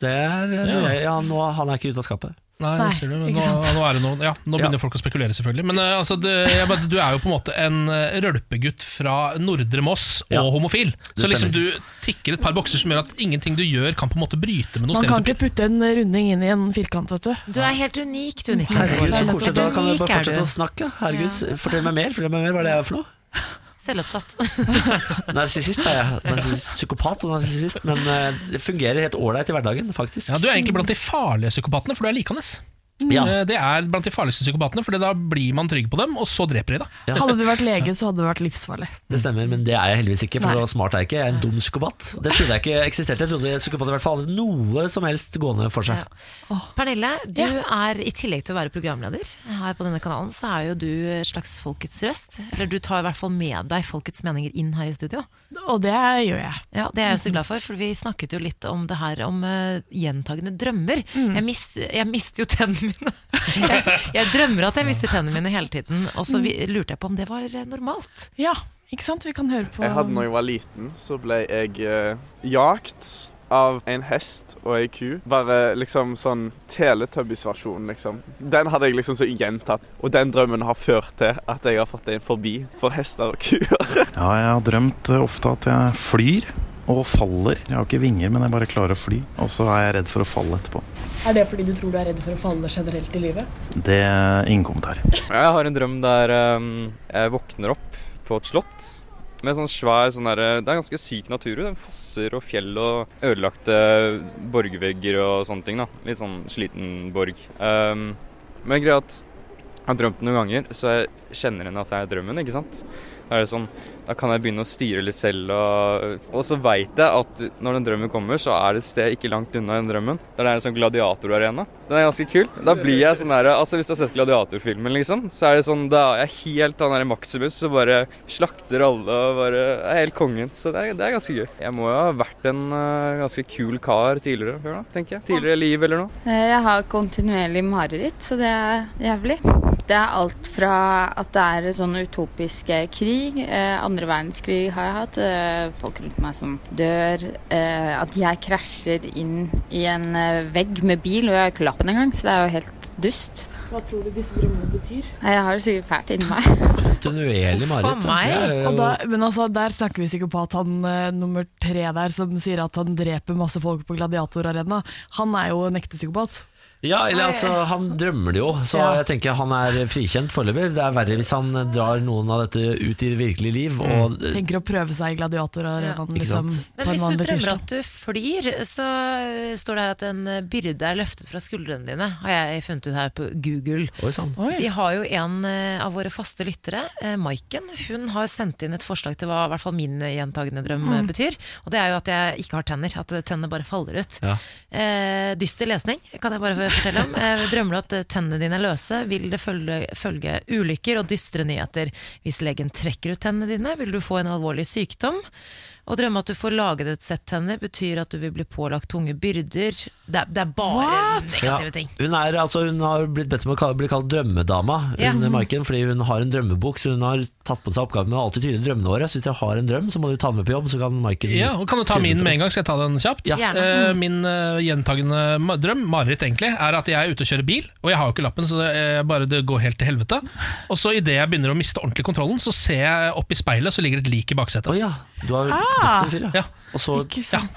S1: Det er, eh,
S3: Ja.
S1: jeg- ja, nå, han er ikke ute av skapet.
S3: Nei,
S17: Nei,
S3: det ser du, men
S17: ikke
S3: nå,
S17: sant?
S3: nå, er det noe, ja, nå begynner folk å spekulere, selvfølgelig. Men eh, altså, det, jeg, bare- du er jo på en måte en eh, rølpegutt fra Nordre Moss og
S1: Ja.
S3: homofil.
S1: Det
S3: Så liksom du
S1: stemmer.
S3: tikker et par bokser som gjør at ingenting du gjør, kan på en måte bryte med noen
S17: Man kan
S3: stereotyper.
S17: ikke putte en runding inn i en firkant, vet du.
S2: Du er helt unik, du, Niklas.
S1: Herregud, så
S2: Baarli.
S1: koselig. Da kan jeg
S2: Unik
S1: bare
S2: er
S1: fortsette
S2: du.
S1: å snakke. Herregud, Fortell meg mer, fortell meg mer hva er det jeg er for noe.
S2: Selvopptatt.
S1: Narsissist er jeg. Narsissist, psykopat og narsissist. Men eh, det fungerer helt ålreit i hverdagen, faktisk.
S3: Ja, du er egentlig
S17: Mm.
S3: blant de farlige psykopatene, for du er likende.
S1: Ja.
S3: Eh, Det er blant de farligste psykopatene, for da blir man trygg på dem, og så dreper de deg.
S1: Ja.
S17: Hadde du vært lege, så hadde det vært livsfarlig.
S1: Det stemmer, men det er jeg heldigvis ikke, for
S17: Nei.
S1: så smart er jeg ikke. Jeg er en dum psykopat. Det trodde jeg ikke eksisterte. Jeg trodde psykopater i hvert fall hadde noe som helst gående for seg.
S2: Pernille, du er i tillegg til å være programleder her på denne kanalen, så er jo du et slags folkets røst. Eller du tar i hvert fall med deg folkets meninger inn her i studio.
S17: Og det gjør jeg.
S2: Ja, Det er jeg så glad for, for vi snakket jo litt om det her om eh, gjentagende drømmer. Jeg, mist, jeg mister jo tennene mine. Jeg, jeg drømmer at jeg mister tennene mine hele tiden, og så vi, lurte jeg på om det var eh, normalt.
S17: Ja, ikke sant? Vi kan høre på
S18: Jeg hadde når jeg var liten, så ble jeg eh, jagt av en hest og ei ku. Bare liksom sånn Teletubbies-versjon, liksom. Den hadde jeg liksom så gjentatt. Og den drømmen har ført til at jeg har fått en forbi for hester og kuer.
S19: Ja, jeg har drømt eh, ofte at jeg flyr og faller. Jeg har ikke vinger, men jeg bare klarer å fly. Og så er jeg redd for å falle etterpå.
S17: Er det fordi du tror du er redd for å falle generelt i livet?
S19: Det er Eh, ingen kommentar.
S20: Jeg har en drøm der ehm, jeg våkner opp på et slott med sånn svær sånn derre Det er ganske syk natur. Det er fosser og fjell og ødelagte borgvegger og sånne ting. da. Litt sånn sliten borg. Ehm, men greia er at jeg har drømt noen ganger, så jeg kjenner igjen at det er drømmen, ikke sant. Da er det sånn, da kan jeg begynne å styre litt selv, og, og så veit jeg at når den drømmen kommer, så er det et sted ikke langt unna den drømmen. Der det er en sånn gladiatorarena. Den er ganske kul. Da blir jeg sånn der, altså Hvis du har sett gladiatorfilmen, liksom, så er det sånn, da er jeg helt han der Maximus som bare slakter alle og bare er helt kongen. Så det er, det er ganske gøy. Jeg må jo ha vært en eh, ganske kul kar tidligere, før da, tenker jeg. Tidligere liv eller noe.
S21: Eh, Jeg har kontinuerlig mareritt, så det er jævlig. Det er alt fra at det er sånn utopisk eh, krig, eh, andre verdenskrig har jeg hatt, eh, folk rundt meg som dør, eh, at jeg krasjer inn i en eh, vegg med bil, og jeg har ikke lappen engang, så det er jo helt dust.
S17: Hva tror du disse drømmene betyr?
S21: Nei, Jeg har det sikkert fælt inni meg.
S1: Kontinuerlig mareritt. da. Det er jo-
S17: Og da, men altså, der snakker vi psykopat, han eh, nummer tre der som sier at han dreper masse folk på gladiatorarena. Han er jo en ekte psykopat.
S1: Ja, eller altså, han drømmer det jo, så
S17: Ja.
S1: jeg tenker han er frikjent foreløpig. Det er verre hvis han drar noen av dette ut i det virkelige liv. Og,
S17: Tenker å prøve seg i gladiatorarenaen
S1: Ja. Ikke
S17: liksom,
S1: sant?
S17: på
S2: Men
S17: en
S2: hvis du
S17: vanlig
S2: drømmer
S17: tirsdag.
S2: at du flyr, så øh, står det her at en øh, byrde er løftet fra skuldrene dine, har jeg funnet ut her på Google.
S1: Oi, sann. Oi.
S2: Vi har jo en øh, av våre faste lyttere, øh, Maiken. Hun har sendt inn et forslag til hva i hvert fall min øh, gjentagende drøm øh,
S22: Mm.
S2: betyr. Og det er jo at jeg ikke har tenner. At øh, tennene bare faller ut.
S22: Ja.
S2: Eh, dyster lesning, kan jeg bare fortelle om. Eh, drømmer du at eh, tennene dine er løse, vil det følge, følge ulykker og dystre nyheter. Hvis legen trekker ut tennene dine, vil du få en alvorlig sykdom. Å drømme at du får laget et sett tenner, betyr at du vil bli pålagt tunge byrder. Det er, det er bare negative ting.
S1: Hun, er, altså, hun har blitt bedt om å ka- bli kalt drømmedama, hun,
S2: Ja.
S1: Maiken, fordi hun har en drømmebok. Så hun har tatt på seg oppgaven med å alltid tyde drømmene våre. Så hvis dere har en drøm, så må dere ta den med på jobb, så kan Maiken
S3: Ja, og Kan du ta
S1: tyde
S3: min
S1: den for
S3: med en
S1: oss.
S3: gang? Skal jeg ta den kjapt?
S1: altså. Ja. Gjerne.
S3: Eh, min eh, gjentagende ma- drøm, mareritt egentlig, er at jeg er ute og kjører bil, og jeg har jo ikke lappen, så det, eh, bare det går helt til helvete. Og så idet jeg begynner å miste ordentlig kontrollen, så ser jeg opp i speilet, så ligger det et lik i baksetet.
S1: Du har
S17: Ah.
S1: drept en fyr, ja. Og så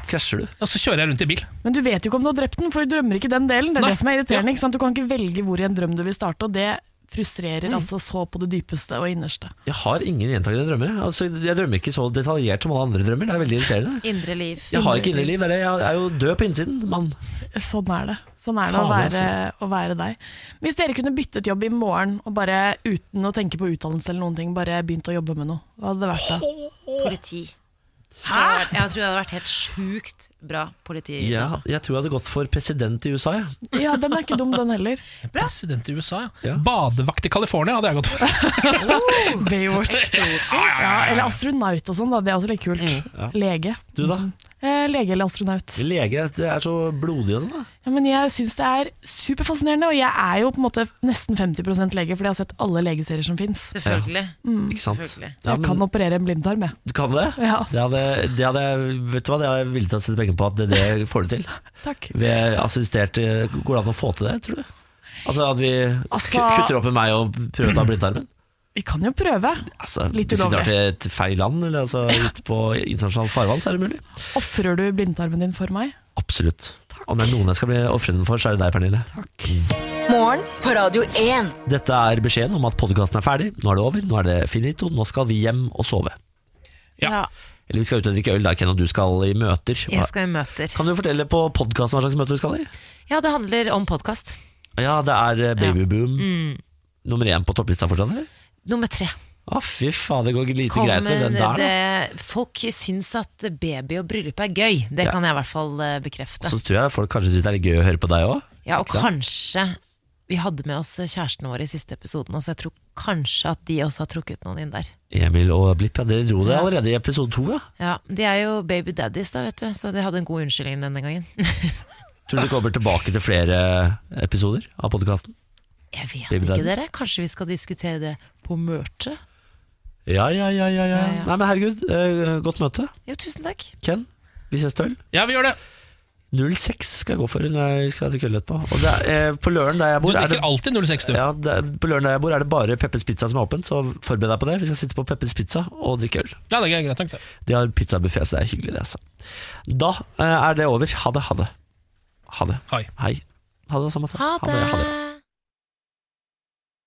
S1: krasjer du.
S3: Og så kjører jeg rundt i bil.
S17: Men du vet jo ikke om du har drept den, for du drømmer ikke den delen. Det er
S3: Nei.
S17: det som er irriterende. Ikke sant? Du kan ikke velge hvor i en drøm du vil starte, og det frustrerer
S1: Mm.
S17: altså så på det dypeste og innerste.
S1: Jeg har ingen gjentagende drømmer. jeg. Altså, jeg drømmer ikke så detaljert som alle andre drømmer. Det er veldig irriterende.
S2: Indre liv.
S1: Jeg har ikke indre liv. det er det. Jeg er jo død på innsiden, mann.
S17: Sånn er det. Sånn er det å
S1: Faen, altså.
S17: være, å være deg. Hvis dere kunne byttet jobb i morgen, og bare uten å tenke på utdannelse eller noen ting, bare begynt å jobbe med noe, hva hadde det vært da?
S2: Politi. Hæ? Jeg tror det hadde vært helt sjukt bra politi.
S1: Ja, jeg tror jeg hadde gått for president i USA, jeg.
S17: Ja, den er ikke dum, den heller.
S3: President i USA, ja. Badevakt i California hadde jeg gått for.
S17: Baywatch. Ja, eller astronaut og sånn, da. Det er også litt kult.
S1: Mm, Ja.
S17: Lege.
S1: Du da?
S17: Eh, Lege eller astronaut.
S1: Lege det er så blodig og sånn, da.
S17: Ja, men jeg syns det er superfascinerende, og jeg er jo på en måte nesten 50 lege, fordi jeg har sett alle legeserier som fins.
S1: Selvfølgelig.
S17: Mm.
S1: Ikke sant?
S17: Jeg
S1: Ja, men-
S17: kan operere en blindtarm, jeg.
S1: Du kan det?
S17: Ja.
S1: Det hadde, det hadde, vet du hva, det hadde jeg villig til å sette penger på at det, det får du til.
S17: Takk.
S1: Ved assistert eh, Går det an å få til det, tror du? Altså at vi
S17: Altså-
S1: ku- kutter opp med meg og prøver å ta blindtarmen?
S17: Vi kan jo prøve.
S1: Altså,
S17: Litt
S1: hvis vi drar
S17: ulovlig.
S1: til et feil land, eller altså ut på internasjonalt farvann, så er det mulig.
S17: Ofrer du blindtarmen din for meg?
S1: Absolutt. Om det er noen jeg skal bli ofre den for, så er det deg, Pernille.
S4: Morgen på Radio 1.
S1: Dette er beskjeden om at podkasten er ferdig, nå er det over, nå er det finito, nå skal vi hjem og sove.
S2: Ja.
S1: Eller vi skal ut og drikke øl, da, Ken, og du skal i møter.
S2: Jeg skal i møter.
S1: Kan du fortelle på podkasten hva slags møte du skal i?
S2: Ja, det handler om podkast.
S1: Ja, det er eh, babyboom.
S2: Mm.
S1: Nummer én på topplista fortsatt, eller?
S2: Nummer tre.
S1: Å, fy faen, det går lite
S2: Kommer
S1: greit med den der, da.
S2: det, folk syns at baby og bryllup er gøy. Det
S1: Ja.
S2: kan jeg i hvert fall eh, bekrefte.
S1: Så tror jeg folk kanskje syns det er litt gøy å høre på deg òg.
S2: Ja, og kanskje vi hadde med oss eh, kjærestene våre i siste episoden, så jeg tror kanskje at de også har trukket noen inn der.
S1: Emil og Blipp, ja, dere dro det allerede i episode to, ja.
S2: Ja, De er jo baby daddies, da, vet du, så de hadde en god unnskyldning denne gangen.
S1: Tror du det kommer tilbake til flere eh, episoder av podkasten?
S2: Jeg vet
S1: Baby
S2: ikke,
S1: daddies.
S2: dere. Kanskje vi skal diskutere det på møtet?
S1: Ja, ja, ja, ja, ja.
S2: Ja, ja.
S1: Nei, men herregud, eh, godt møte.
S2: Jo, tusen takk.
S1: Ken, vi ses til øl.
S3: Ja, vi gjør det.
S1: 06 skal jeg gå for når jeg skal drikke øl etterpå. Og det er, eh, på Løren der jeg bor
S3: Du
S1: er
S3: drikker
S1: det,
S3: alltid 06, du.
S1: ja, det, er- På Løren der jeg bor er det bare Peppers Pizza som er åpent, så forbered deg på det. Vi skal sitte på Peppers Pizza og drikke øl.
S3: Ja, det er greit nok, det.
S1: De har pizzabuffé, så det er hyggelig, det. Altså. Da eh, er det over. Ha det, ha det. Ha det.
S3: Hei.
S1: altså. Ha det, Samantha. Ha det. Ha det.